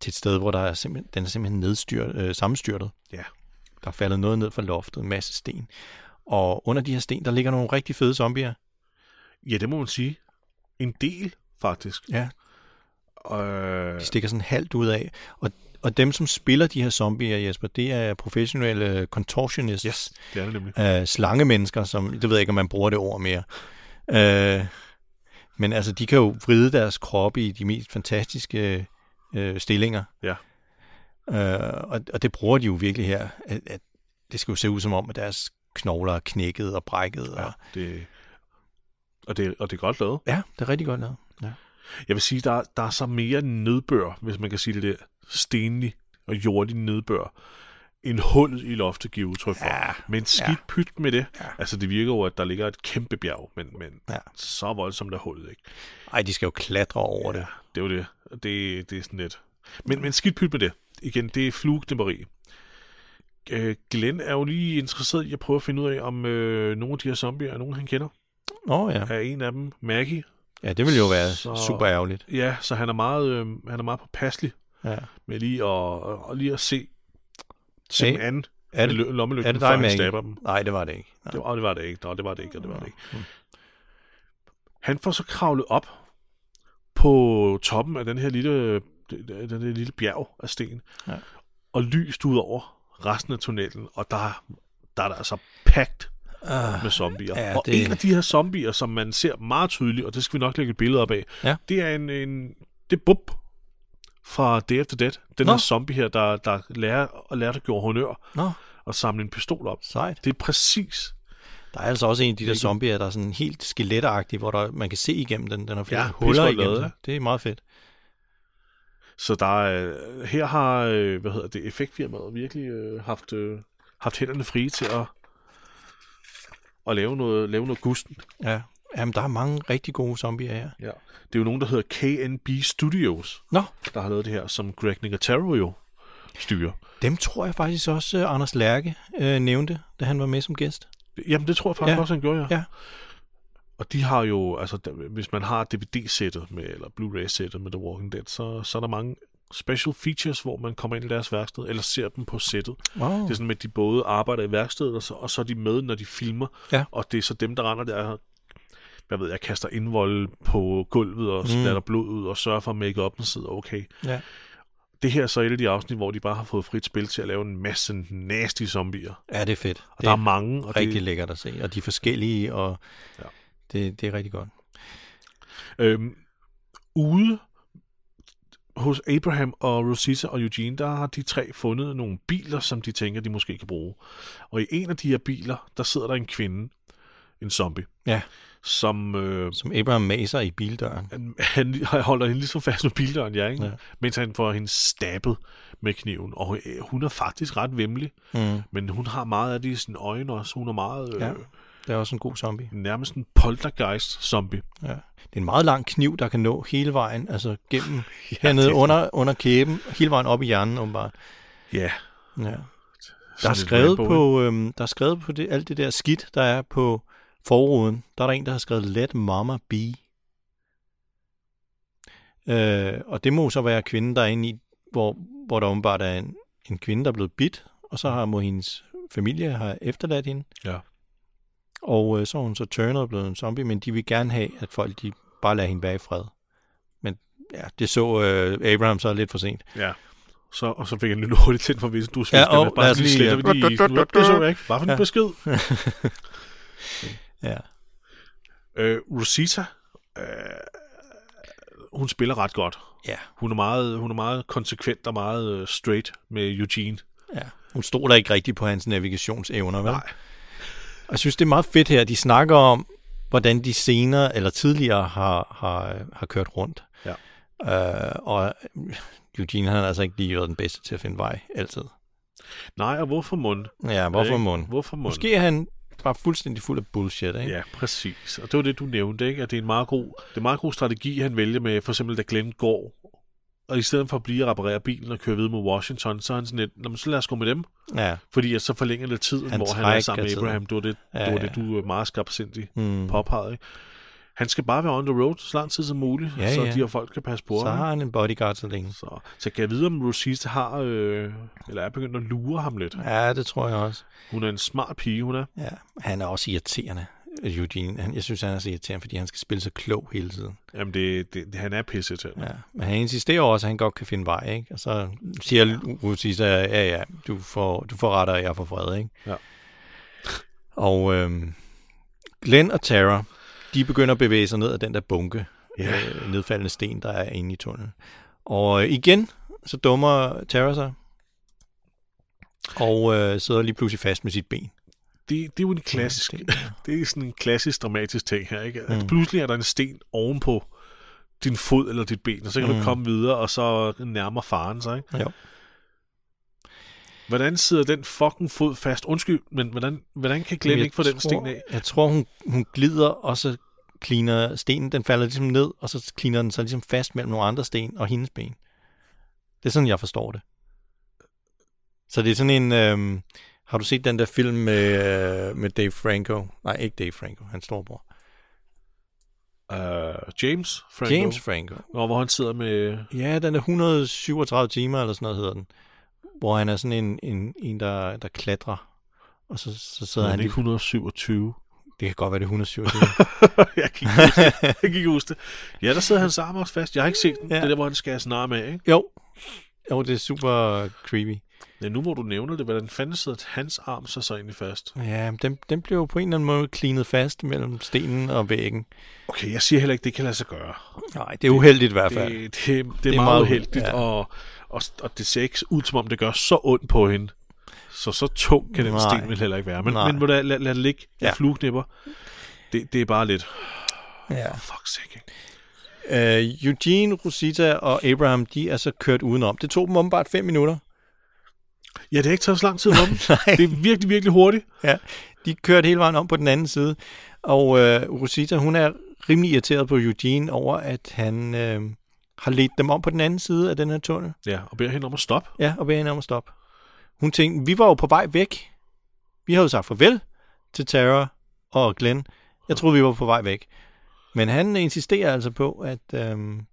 [SPEAKER 4] til et sted, hvor der er simpelthen, den er simpelthen nedstyrt, øh, sammenstyrtet.
[SPEAKER 1] ja.
[SPEAKER 4] Der er faldet noget ned fra loftet, en masse sten. Og under de her sten, der ligger nogle rigtig fede zombier.
[SPEAKER 1] ja, det må man sige. En del, faktisk.
[SPEAKER 4] Ja,
[SPEAKER 1] Øh,
[SPEAKER 4] de stikker sådan halvt ud af. Og, og dem, som spiller de her zombier, Jesper, det er professionelle contortionists.
[SPEAKER 1] Yes, det er det nemlig.
[SPEAKER 4] Øh, slangemennesker, som, det ved jeg ikke, om man bruger det ord mere. Øh, men altså, de kan jo vride deres kroppe i de mest fantastiske øh, stillinger.
[SPEAKER 1] Ja.
[SPEAKER 4] Øh, og, og det bruger de jo virkelig her. At, at det skal jo se ud som om, at deres knogler er knækket og brækket. Og,
[SPEAKER 1] Ja, det, og, det, og det er godt lavet.
[SPEAKER 4] ja, det er rigtig godt lavet. Ja.
[SPEAKER 1] Jeg vil sige, der, er- der er så mere nedbør, hvis man kan sige det der, stenlig og jordig nedbør, end hullet i loftet giver udtryk for.
[SPEAKER 4] Ja,
[SPEAKER 1] men skidt
[SPEAKER 4] ja.
[SPEAKER 1] pyt med det.
[SPEAKER 4] Ja.
[SPEAKER 1] Altså, det virker jo, at der ligger et kæmpe bjerg, men, men
[SPEAKER 4] Ja.
[SPEAKER 1] så voldsomt er hullet, ikke?
[SPEAKER 4] Ej, de skal jo klatre over det.
[SPEAKER 1] Det er jo det. Og Det, det er sådan lidt. Men, men skidt pyt med det. Igen, det er flugknemmeri. Øh, Glenn er jo lige interesseret i at prøve at finde ud af, om øh, nogle af de her zombier er nogen, han kender.
[SPEAKER 4] Nå ja.
[SPEAKER 1] Er en af dem Maggie?
[SPEAKER 4] Ja, det ville jo være
[SPEAKER 1] Så-
[SPEAKER 4] så... super ærgerligt.
[SPEAKER 1] Ja, så han er meget, øh, han er meget påpasselig
[SPEAKER 4] Ja.
[SPEAKER 1] med lige at, og lige at se, se
[SPEAKER 4] Hey,
[SPEAKER 1] hey, anden
[SPEAKER 4] Er det,
[SPEAKER 1] lommelygten,
[SPEAKER 4] er det
[SPEAKER 1] før
[SPEAKER 4] dig,
[SPEAKER 1] han
[SPEAKER 4] Maggie?
[SPEAKER 1] stabber dem.
[SPEAKER 4] Nej, det var det ikke. Nej.
[SPEAKER 1] Det var, og det var det ikke, og det var det ikke, og det var det ikke.
[SPEAKER 4] Mm.
[SPEAKER 1] Han får så kravlet op på toppen af den her lille, den her lille bjerg af sten,
[SPEAKER 4] Ja.
[SPEAKER 1] og lyst ud over resten af tunnelen, og der, der er der altså pakket
[SPEAKER 4] Ah,
[SPEAKER 1] med zombier.
[SPEAKER 4] Ja,
[SPEAKER 1] og
[SPEAKER 4] det-
[SPEAKER 1] en af de her zombier, som man ser meget tydeligt, og det skal vi nok lægge et billede op af,
[SPEAKER 4] Ja.
[SPEAKER 1] det er en, en det er Bub fra Day After Dead. Den
[SPEAKER 4] Nå.
[SPEAKER 1] her zombie her, der, der lærer, og lærer at gøre honør
[SPEAKER 4] Nå,
[SPEAKER 1] og samle en pistol op.
[SPEAKER 4] sejt.
[SPEAKER 1] Det er præcis
[SPEAKER 4] Der er altså også en af de der zombier, der er sådan helt skeletagtig, hvor der, man kan se igennem den. Den har flere
[SPEAKER 1] Ja,
[SPEAKER 4] ja,
[SPEAKER 1] pis
[SPEAKER 4] huller
[SPEAKER 1] godt
[SPEAKER 4] igennem
[SPEAKER 1] lavet,
[SPEAKER 4] den. Det er meget fedt.
[SPEAKER 1] Så der er, her har, øh, hvad hedder det, effektfirmaet virkelig øh, haft, øh, haft hænderne frie til at, at lave noget, lave noget gusten.
[SPEAKER 4] Ja. Jamen, der er mange rigtig gode zombier her.
[SPEAKER 1] Ja. Det er jo nogen, der hedder KNB Studios,
[SPEAKER 4] Nå,
[SPEAKER 1] der har lavet det her, som Greg Nicotero jo styrer.
[SPEAKER 4] dem tror jeg faktisk også, øh, Anders Lærke øh, nævnte, da han var med som gæst.
[SPEAKER 1] Jamen, det tror jeg faktisk ja.
[SPEAKER 4] Ja.
[SPEAKER 1] også, han gjorde, ja.
[SPEAKER 4] Ja.
[SPEAKER 1] Og de har jo, altså, der, hvis man har DVD-sættet, med, eller Blu-ray-sættet med The Walking Dead, så, så er der mange special features, hvor man kommer ind i deres værksted, eller ser dem på sættet.
[SPEAKER 4] Wow.
[SPEAKER 1] Det er sådan, med, at de både arbejder i værkstedet, og så, og så er de med, når de filmer.
[SPEAKER 4] Ja.
[SPEAKER 1] Og det er så dem, der render der, hvad ved jeg, kaster indvold på gulvet og
[SPEAKER 4] Mm.
[SPEAKER 1] splatter blod ud og sørger for, at make-up'en sidder okay.
[SPEAKER 4] Ja.
[SPEAKER 1] Det her er så et af de afsnit, hvor de bare har fået frit spil til at lave en masse nasty zombier.
[SPEAKER 4] ja, det er fedt.
[SPEAKER 1] Og
[SPEAKER 4] Det
[SPEAKER 1] der er
[SPEAKER 4] er
[SPEAKER 1] mange, og
[SPEAKER 4] rigtig
[SPEAKER 1] det,
[SPEAKER 4] lækkert at se. Og de er forskellige, og
[SPEAKER 1] Ja.
[SPEAKER 4] ja. det, det er rigtig godt.
[SPEAKER 1] øhm, ude hos Abraham og Rosita og Eugene, der har de tre fundet nogle biler, som de tænker, de måske kan bruge. Og i en af de her biler, der sidder der en kvinde, en zombie,
[SPEAKER 4] Ja,
[SPEAKER 1] som øh,
[SPEAKER 4] som Abraham maser i bildøren.
[SPEAKER 1] han, han holder hende ligesom fast med bildøren, ja, ikke? Ja.
[SPEAKER 4] Ja.
[SPEAKER 1] mens han får hende stabbet med kniven. Og øh, hun er faktisk ret vemmelig,
[SPEAKER 4] Mm.
[SPEAKER 1] men hun har meget af det i sine øjne også. Hun er meget øh, ja.
[SPEAKER 4] Ja, det er også en god zombie.
[SPEAKER 1] nærmest en poltergeist-zombie.
[SPEAKER 4] Ja. Det er en meget lang kniv, der kan nå hele vejen, altså
[SPEAKER 1] <laughs>
[SPEAKER 4] gennem ja, hernede under, under kæben, hele vejen op i hjernen, åbenbart.
[SPEAKER 1] Ja.
[SPEAKER 4] Ja. Der
[SPEAKER 1] sådan
[SPEAKER 4] er
[SPEAKER 1] lidt
[SPEAKER 4] skrevet
[SPEAKER 1] Rambo, ikke?
[SPEAKER 4] på, øhm, der er skrevet på det, alt det der skidt, der er på forruden. Der er der en, der har skrevet Let Mama Be. Øh, og det må så være kvinden, der er inde i, hvor, hvor der åbenbart er en, en kvinde, der er blevet bidt, og så har må hendes familie har efterladt hende.
[SPEAKER 1] Ja.
[SPEAKER 4] Og øh, så er hun så turnet og blevet en zombie, men de vil gerne have, at folk de bare lader hende være i fred. Men ja, det så øh, Abraham så lidt for sent.
[SPEAKER 1] Ja. Så, og så fik jeg lidt hurtigt tændt for hvis du er svensker.
[SPEAKER 4] og
[SPEAKER 1] men
[SPEAKER 4] lad
[SPEAKER 1] bare
[SPEAKER 4] os
[SPEAKER 1] lige
[SPEAKER 4] lige,
[SPEAKER 1] sletter
[SPEAKER 4] ja.
[SPEAKER 1] vi lige. Det så jeg ikke. Hvad for en
[SPEAKER 4] Ja.
[SPEAKER 1] besked?
[SPEAKER 4] Ja.
[SPEAKER 1] Øh, Rosita, øh, hun spiller ret godt.
[SPEAKER 4] Ja.
[SPEAKER 1] Hun er meget, hun er meget konsekvent og meget øh, straight med Eugene.
[SPEAKER 4] Ja. Hun stoler ikke rigtigt på hans navigationsevner, vel? Nej. Og jeg synes, det er meget fedt her. De snakker om, hvordan de senere eller tidligere har, har, har kørt rundt.
[SPEAKER 1] Ja.
[SPEAKER 4] Øh, og Eugene han har altså ikke lige været den bedste til at finde vej, altid.
[SPEAKER 1] Nej, og hvorfor mund?
[SPEAKER 4] Ja, hvorfor mund?
[SPEAKER 1] Hvorfor mund?
[SPEAKER 4] Måske er han bare fuldstændig fuld af bullshit, ikke?
[SPEAKER 1] Ja, præcis. Og det var det, du nævnte, ikke? At det er en meget god, det er en meget god strategi, han vælger med, for eksempel, da Glenn går, og i stedet for at blive og reparere bilen og køre videre mod Washington, så er han sådan lidt, "Nå, men så lad os gå med dem,
[SPEAKER 4] Ja.
[SPEAKER 1] fordi at så forlænger det tiden,
[SPEAKER 4] Han
[SPEAKER 1] han hvor han er sammen
[SPEAKER 4] trækker
[SPEAKER 1] med
[SPEAKER 4] tiden.
[SPEAKER 1] Abraham. Det var det,
[SPEAKER 4] Ja,
[SPEAKER 1] ja, det, var
[SPEAKER 4] ja.
[SPEAKER 1] det du øh, meget skarpsindigt
[SPEAKER 4] Mm.
[SPEAKER 1] mm. påpegede, ikke? Han skal bare være on the road så lang tid som muligt,
[SPEAKER 4] Ja,
[SPEAKER 1] ja, så
[SPEAKER 4] ja.
[SPEAKER 1] ja. de her folk kan passe på
[SPEAKER 4] Så
[SPEAKER 1] ham.
[SPEAKER 4] har han en bodyguard så længe.
[SPEAKER 1] Så, så kan jeg vide, om Rosita har, øh, eller er begyndt at lure ham lidt.
[SPEAKER 4] Ja, det tror jeg også.
[SPEAKER 1] Hun er en smart pige, hun er.
[SPEAKER 4] Ja. Han er også irriterende, Eugene. Han, jeg synes, han er så irriterende, fordi han skal spille så klog hele tiden.
[SPEAKER 1] Jamen, det, det, det han er pisse til.
[SPEAKER 4] Ja, men han insisterer også, at han godt kan finde vej, ikke? Og så siger Rusisa, ja, ja, du får, du får ret, og jeg får fred, ikke?
[SPEAKER 1] Ja.
[SPEAKER 4] Og øhm, Glenn og Tara, de begynder at bevæge sig ned ad den der bunke,
[SPEAKER 1] Ja.
[SPEAKER 4] øh, nedfaldende sten, der er inde i tunnelen. Og øh, igen, så dummer Tara sig, og øh, sidder lige pludselig fast med sit ben.
[SPEAKER 1] Det, det er jo en klassisk,
[SPEAKER 4] Det-
[SPEAKER 1] <laughs> det er sådan en klassisk dramatisk ting her, ikke?
[SPEAKER 4] Mm.
[SPEAKER 1] At pludselig er der en sten ovenpå din fod eller dit ben, og så kan mm. du komme videre, og så nærmer faren sig, ikke?
[SPEAKER 4] Jo.
[SPEAKER 1] Hvordan sidder den fucking fod fast? Undskyld, men hvordan, hvordan kan Glenn
[SPEAKER 4] Jeg
[SPEAKER 1] ikke få den sten af?
[SPEAKER 4] Jeg tror, hun, hun glider, og så kliner stenen, den falder ligesom ned, og så kliner den så ligesom fast mellem nogle andre sten og hendes ben. Det er sådan, jeg forstår det. Så det er sådan en... Øhm, har du set den der film med, øh, med Dave Franco? Nej, ikke Dave Franco, hans storebror.
[SPEAKER 1] Uh, James Franco.
[SPEAKER 4] James Franco.
[SPEAKER 1] Nå, hvor han sidder med...
[SPEAKER 4] Ja, den er 137 timer, eller sådan noget hedder den. Hvor han er sådan en, en, en der, der klatrer. Og så, så sidder
[SPEAKER 1] Han
[SPEAKER 4] han...
[SPEAKER 1] er ikke
[SPEAKER 4] Lige,
[SPEAKER 1] 127.
[SPEAKER 4] det kan godt være, det er 137.
[SPEAKER 1] <laughs> jeg
[SPEAKER 4] <laughs>
[SPEAKER 1] kan ikke huske det. Jeg kan ikke huske det. Ja, der sidder hans arm også fast. Jeg har ikke set den.
[SPEAKER 4] Ja.
[SPEAKER 1] Ja. Det er der, hvor han skærer sin arm af, ikke?
[SPEAKER 4] jo. Jo, det er super creepy.
[SPEAKER 1] Ja, nu hvor du nævner det, hvordan fanden sidder hans arm så så egentlig fast?
[SPEAKER 4] Ja, men den, den blev jo på en eller anden måde klinet fast mellem stenen og væggen.
[SPEAKER 1] Okay, jeg siger heller ikke, det kan lade sig gøre.
[SPEAKER 4] Nej, det er uheldigt i hvert
[SPEAKER 1] Det,
[SPEAKER 4] fald.
[SPEAKER 1] det, det, det er meget, meget uheldigt, ja. og, og, og det ser ikke ud, som om det gør så ondt på hende. Så så tung kan den
[SPEAKER 4] Nej.
[SPEAKER 1] Nej. sten vel heller ikke være. Men,
[SPEAKER 4] Nej.
[SPEAKER 1] men må da, lad, lad det ligge. Det
[SPEAKER 4] Ja.
[SPEAKER 1] ja. flueknipper. Det, det er bare lidt...
[SPEAKER 4] Ja.
[SPEAKER 1] Fuck sake, ikke?
[SPEAKER 4] Øh, Eugene, Rosita og Abraham, de er så kørt udenom. Det tog dem åbenbart fem <laughs> minutter.
[SPEAKER 1] Ja, det har ikke taget så lang tid om. det er virkelig, virkelig hurtigt.
[SPEAKER 4] Ja, de kørte hele vejen om på den anden side. Og øh, Rosita, hun er rimelig irriteret på Eugene over, at han øh, har ledt dem om på den anden side af den her tunnel.
[SPEAKER 1] Ja, og beder hende om at stoppe.
[SPEAKER 4] Ja, og beder hende om at stoppe. Hun tænkte, vi var jo på vej væk. Vi havde jo sagt farvel til Tara og Glenn. Jeg troede, vi var på vej væk. Men han insisterer altså på, at øhm,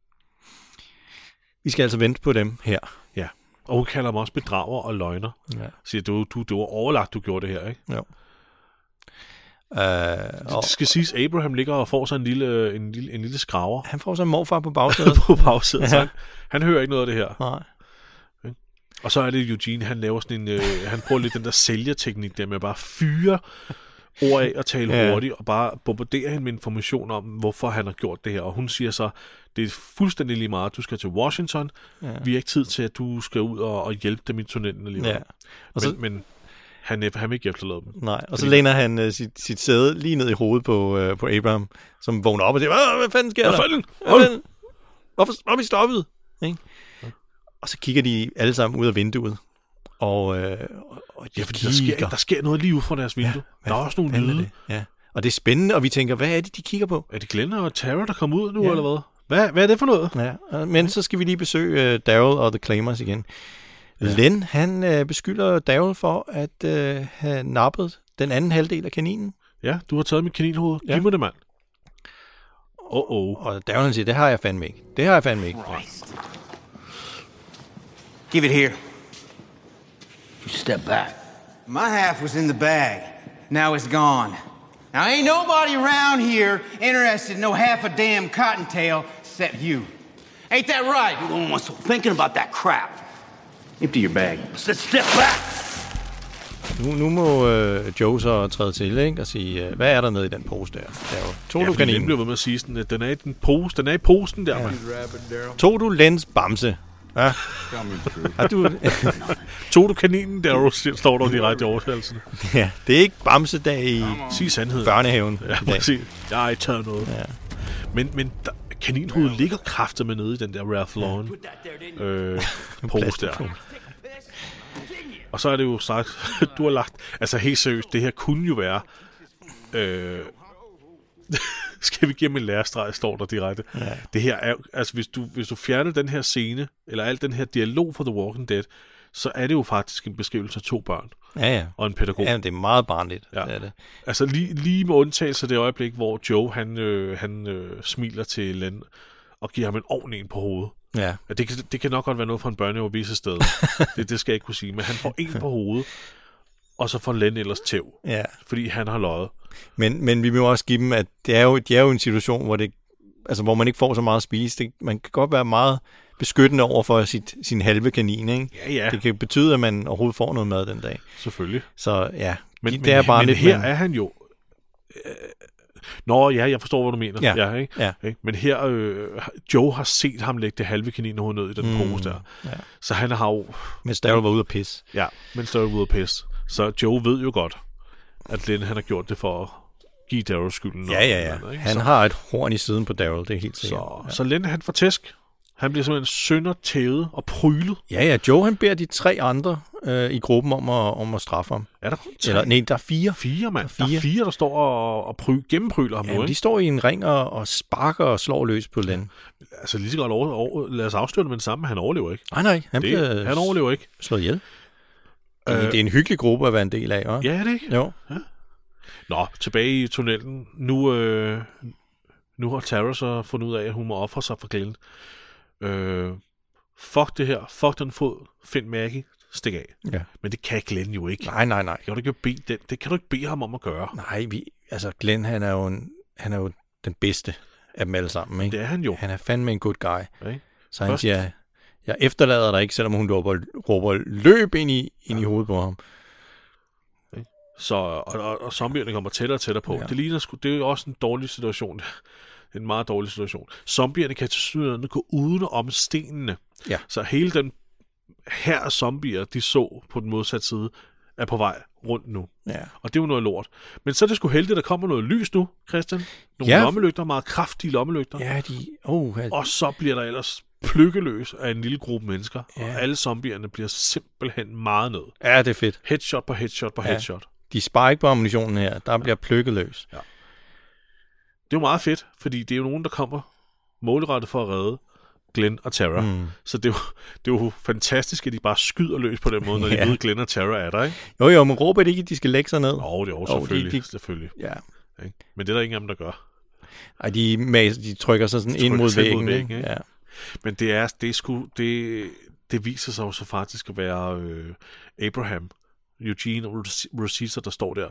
[SPEAKER 4] vi skal altså vente på dem her.
[SPEAKER 1] Ja, og hun kalder mig også bedrager og løgner.
[SPEAKER 4] Ja.
[SPEAKER 1] Siger, du, du, det var overlagt, du gjorde det her, ikke?
[SPEAKER 4] Jo. Øh, og
[SPEAKER 1] Det skal siges, Abraham ligger og får sig en lille, en lille, en lille skraver
[SPEAKER 4] han får så en morfar <laughs> på bagsædet.
[SPEAKER 1] på bagsædet. Ja. Så han, han hører ikke noget af det her.
[SPEAKER 4] Nej.
[SPEAKER 1] Og så er det Eugene, han laver sådan en, øh, han bruger lidt den der sælgerteknik der med at bare fyre ord af og tale
[SPEAKER 4] Ja.
[SPEAKER 1] ja. hurtigt, og bare bombardere hende med information om, hvorfor han har gjort det her. Og hun siger så, det er fuldstændig lige meget, du skal til Washington, ja. vi har ikke tid til, at du skal ud og, og hjælpe dem i tunnelen alligevel.
[SPEAKER 4] Ja.
[SPEAKER 1] Ja.
[SPEAKER 4] Og
[SPEAKER 1] Men,
[SPEAKER 4] så-
[SPEAKER 1] så... men han, øh, han vil ikke efterlade dem.
[SPEAKER 4] Nej, og så læner han øh, sit, sit sæde lige ned i hovedet på, øh, på Abraham, som vågner op og siger, "Hvad- hvad fanden sker der?
[SPEAKER 1] Hvad fanden?
[SPEAKER 4] Hvad fanden? Hvorfor hvorfor er vi stoppet? Ikke? Og så kigger de alle sammen ud af vinduet. Og, øh, og- og de
[SPEAKER 1] Ja, fordi der sker,
[SPEAKER 4] kigger.
[SPEAKER 1] der sker noget lige ud fra deres vindue. Ja, der er også nogle
[SPEAKER 4] Fanden er
[SPEAKER 1] lyde.
[SPEAKER 4] det? Ja. Og det er spændende, og vi tænker, hvad er det, de kigger på?
[SPEAKER 1] Er det Glenn og Tara, der kommer ud nu,
[SPEAKER 4] Ja.
[SPEAKER 1] ja. eller hvad? hvad? Hvad er det for noget?
[SPEAKER 4] Ja, og- men så skal vi lige besøge uh, Daryl og The Claimers igen. Ja. Len, han øh, beskylder Daryl for at øh, have nappet den anden halvdel af kaninen.
[SPEAKER 1] Ja, du har taget mit kaninhoved. Ja. Giv mig det, mand. Oh, oh.
[SPEAKER 4] Og Daryl han siger, det har jeg fandme ikke. Det har jeg fandme ikke.
[SPEAKER 7] Give it here.
[SPEAKER 6] You step back.
[SPEAKER 7] My half was in the bag. Now it's gone. Now ain't nobody around here interested in no half a damn cottontail except you. Ain't that right?
[SPEAKER 6] Going on so thinking about that crap. Empty your bag. I said step back!
[SPEAKER 4] Nu, nu må øh, Joe så træde til, ikke? Og sige, øh, hvad er der nede i den pose der? Der er jo to
[SPEAKER 1] Ja,
[SPEAKER 4] du
[SPEAKER 1] fordi den
[SPEAKER 4] kanin,
[SPEAKER 1] bliver ved med at sige sådan, at den er i den pose, den er i posen der, ja.
[SPEAKER 4] to du lens bamse. Ja, har du, <laughs>
[SPEAKER 1] Tog du kaninen der, og står der direkte i oversættelsen.
[SPEAKER 4] ja, det er ikke bamsedag i
[SPEAKER 1] Sig sandheden.
[SPEAKER 4] børnehaven
[SPEAKER 1] Ja,
[SPEAKER 4] i dag.
[SPEAKER 1] præcis. Jeg har ikke taget noget.
[SPEAKER 4] Ja.
[SPEAKER 1] Men, men der, kaninhovedet ligger kraftet med nede i den der Ralph Lauren øh, pose der. Og så er det jo sagt, <laughs> du har lagt... Altså helt seriøst, det her kunne jo være... Øh, <laughs> skal vi give ham en lærestreg, står der direkte. Ja. Det her er, jo- altså hvis du, hvis du fjerner den her scene, eller alt den her dialog fra The Walking Dead, så er det jo faktisk en beskrivelse af to børn
[SPEAKER 4] Ja, ja.
[SPEAKER 1] og en pædagog.
[SPEAKER 4] Ja, men det er meget barnligt.
[SPEAKER 1] Ja.
[SPEAKER 4] Ja. Det er det.
[SPEAKER 1] Altså lige, lige med undtagelse af det øjeblik, hvor Joe han, øh, han øh, smiler til Len og giver ham en ordentlig en på hovedet.
[SPEAKER 4] Ja.
[SPEAKER 1] Ja, det, kan, det kan nok godt være noget for en børnehave visse
[SPEAKER 4] <laughs>
[SPEAKER 1] steder. det, det skal jeg ikke kunne sige. Men han får en på hovedet, og så får Len ellers tæv,
[SPEAKER 4] ja.
[SPEAKER 1] fordi han har løjet.
[SPEAKER 4] Men, men vi må også give dem, at det er jo, det er jo en situation, hvor, det, altså, hvor man ikke får så meget at spise. Det, man kan godt være meget beskyttende over for sit, sin halve kanin, ikke?
[SPEAKER 1] Ja, ja,
[SPEAKER 4] Det kan betyde, at man overhovedet får noget mad den dag.
[SPEAKER 1] selvfølgelig.
[SPEAKER 4] Så ja,
[SPEAKER 1] Men,
[SPEAKER 4] det
[SPEAKER 1] men,
[SPEAKER 4] er bare
[SPEAKER 1] men
[SPEAKER 4] lidt...
[SPEAKER 1] her
[SPEAKER 4] men-
[SPEAKER 1] er han jo... øh, Nå, ja, jeg forstår, hvad du mener.
[SPEAKER 4] Ja,
[SPEAKER 1] ja, ikke?
[SPEAKER 4] ja.
[SPEAKER 1] Ikke? Men her, øh, Joe har set ham lægge det halve kaninhoved ned i den mm, pose der. Ja. Så han har jo
[SPEAKER 4] Mens Daryl var ude at pisse.
[SPEAKER 1] Ja, mens Daryl er ude at pisse. Så Joe ved jo godt, at Len han har gjort det for at give Daryl skylden.
[SPEAKER 4] Ja,
[SPEAKER 1] og
[SPEAKER 4] ja,
[SPEAKER 1] et
[SPEAKER 4] ja.
[SPEAKER 1] eller andet, ikke?
[SPEAKER 4] Han
[SPEAKER 1] så,
[SPEAKER 4] har et horn i siden på Daryl, det er helt sikkert.
[SPEAKER 1] så, så Len han får tæsk. Han bliver simpelthen søndertævet og prylet.
[SPEAKER 4] Ja, ja, Joe han beder de tre andre øh, i gruppen om at, om at straffe ham.
[SPEAKER 1] Er der kun tre?
[SPEAKER 4] Eller, nej, der er fire.
[SPEAKER 1] fire, mand.
[SPEAKER 4] der er
[SPEAKER 1] Der er fire, der står og, og pry, gennempryler ham nu,
[SPEAKER 4] Jamen,
[SPEAKER 1] ikke?
[SPEAKER 4] de står i en ring og, og sparker og slår løs på Len.
[SPEAKER 1] Altså lige så godt over, over, lad os afsløre det med det samme. Han overlever ikke.
[SPEAKER 4] Nej, nej, han bliver
[SPEAKER 1] Det, han overlever ikke.
[SPEAKER 4] slået ihjel. Øh, det er en hyggelig gruppe at være en del af, hva'?
[SPEAKER 1] Ja, er det ikke?
[SPEAKER 4] Jo.
[SPEAKER 1] Nå, tilbage i tunnelen. Nu, øh, nu har Tara så fundet ud af, at hun må ofre sig for Glenn. Øh, fuck det her. Fuck den fod. Find Maggie. Stik af.
[SPEAKER 4] Ja.
[SPEAKER 1] Men det kan Glenn jo ikke.
[SPEAKER 4] Nej, nej, nej.
[SPEAKER 1] Det kan du ikke bede, det, det kan du ikke bede ham om at gøre.
[SPEAKER 4] Nej, vi, altså Glenn, han er, jo en, han er jo den bedste af dem alle sammen, ikke?
[SPEAKER 1] Det er han jo.
[SPEAKER 4] Han er fandme en good guy.
[SPEAKER 1] Ikke?
[SPEAKER 4] Så han
[SPEAKER 1] Først-
[SPEAKER 4] siger, jeg efterlader dig ikke, selvom hun råber, råber løb ind i, ind i hovedet på ham.
[SPEAKER 1] Så, og, og, og zombierne kommer tættere og tættere på. Ja.
[SPEAKER 4] Ja.
[SPEAKER 1] Det, ligner, sgu- det er jo også en dårlig situation. <laughs> en meget dårlig situation. Zombierne kan til sydende gå uden om stenene.
[SPEAKER 4] Ja.
[SPEAKER 1] Så hele den her af zombier, de så på den modsatte side, er på vej rundt nu.
[SPEAKER 4] Ja.
[SPEAKER 1] Og det er jo noget lort. Men så er det sgu heldigt, at der kommer noget lys nu, Christian. Nogle
[SPEAKER 4] Ja.
[SPEAKER 1] lommelygter, meget kraftige lommelygter.
[SPEAKER 4] Ja, de... Oh, ja,
[SPEAKER 1] Og så bliver der ellers plukkeløs af en lille gruppe mennesker, ja. og
[SPEAKER 4] Ja.
[SPEAKER 1] alle zombierne bliver simpelthen meget ned.
[SPEAKER 4] ja, det er fedt.
[SPEAKER 1] Headshot på headshot på ja.
[SPEAKER 4] Ja.
[SPEAKER 1] headshot.
[SPEAKER 4] De sparer ikke på ammunitionen her. Der bliver plukket løs.
[SPEAKER 1] Det er jo meget fedt, fordi det er jo nogen, der kommer målrettet for at redde Glenn og Tara. Mm. Så det er, jo, det er jo fantastisk, at de bare skyder løs på den måde, når de
[SPEAKER 4] <laughs> Ja.
[SPEAKER 1] ved, at Glenn og Tara er der, ikke?
[SPEAKER 4] Jo, jo, men råber det ikke, at de skal lægge sig ned?
[SPEAKER 1] Åh, det er jo
[SPEAKER 4] Jo, de-
[SPEAKER 1] selvfølgelig.
[SPEAKER 4] de-
[SPEAKER 1] selvfølgelig
[SPEAKER 4] Ja.
[SPEAKER 1] ikke? Men det er der ingen af dem, der gør.
[SPEAKER 4] Ej, de, mas- de trykker sig sådan ind
[SPEAKER 1] trykker
[SPEAKER 4] mod
[SPEAKER 1] sig ind mod
[SPEAKER 4] væggen.
[SPEAKER 1] væggen,
[SPEAKER 4] ikke?
[SPEAKER 1] ikke?
[SPEAKER 4] Ja.
[SPEAKER 1] Men det er, det er sgu, det, det viser sig jo så faktisk at være øh, Abraham, Eugene og Ros- Rosita, der står der.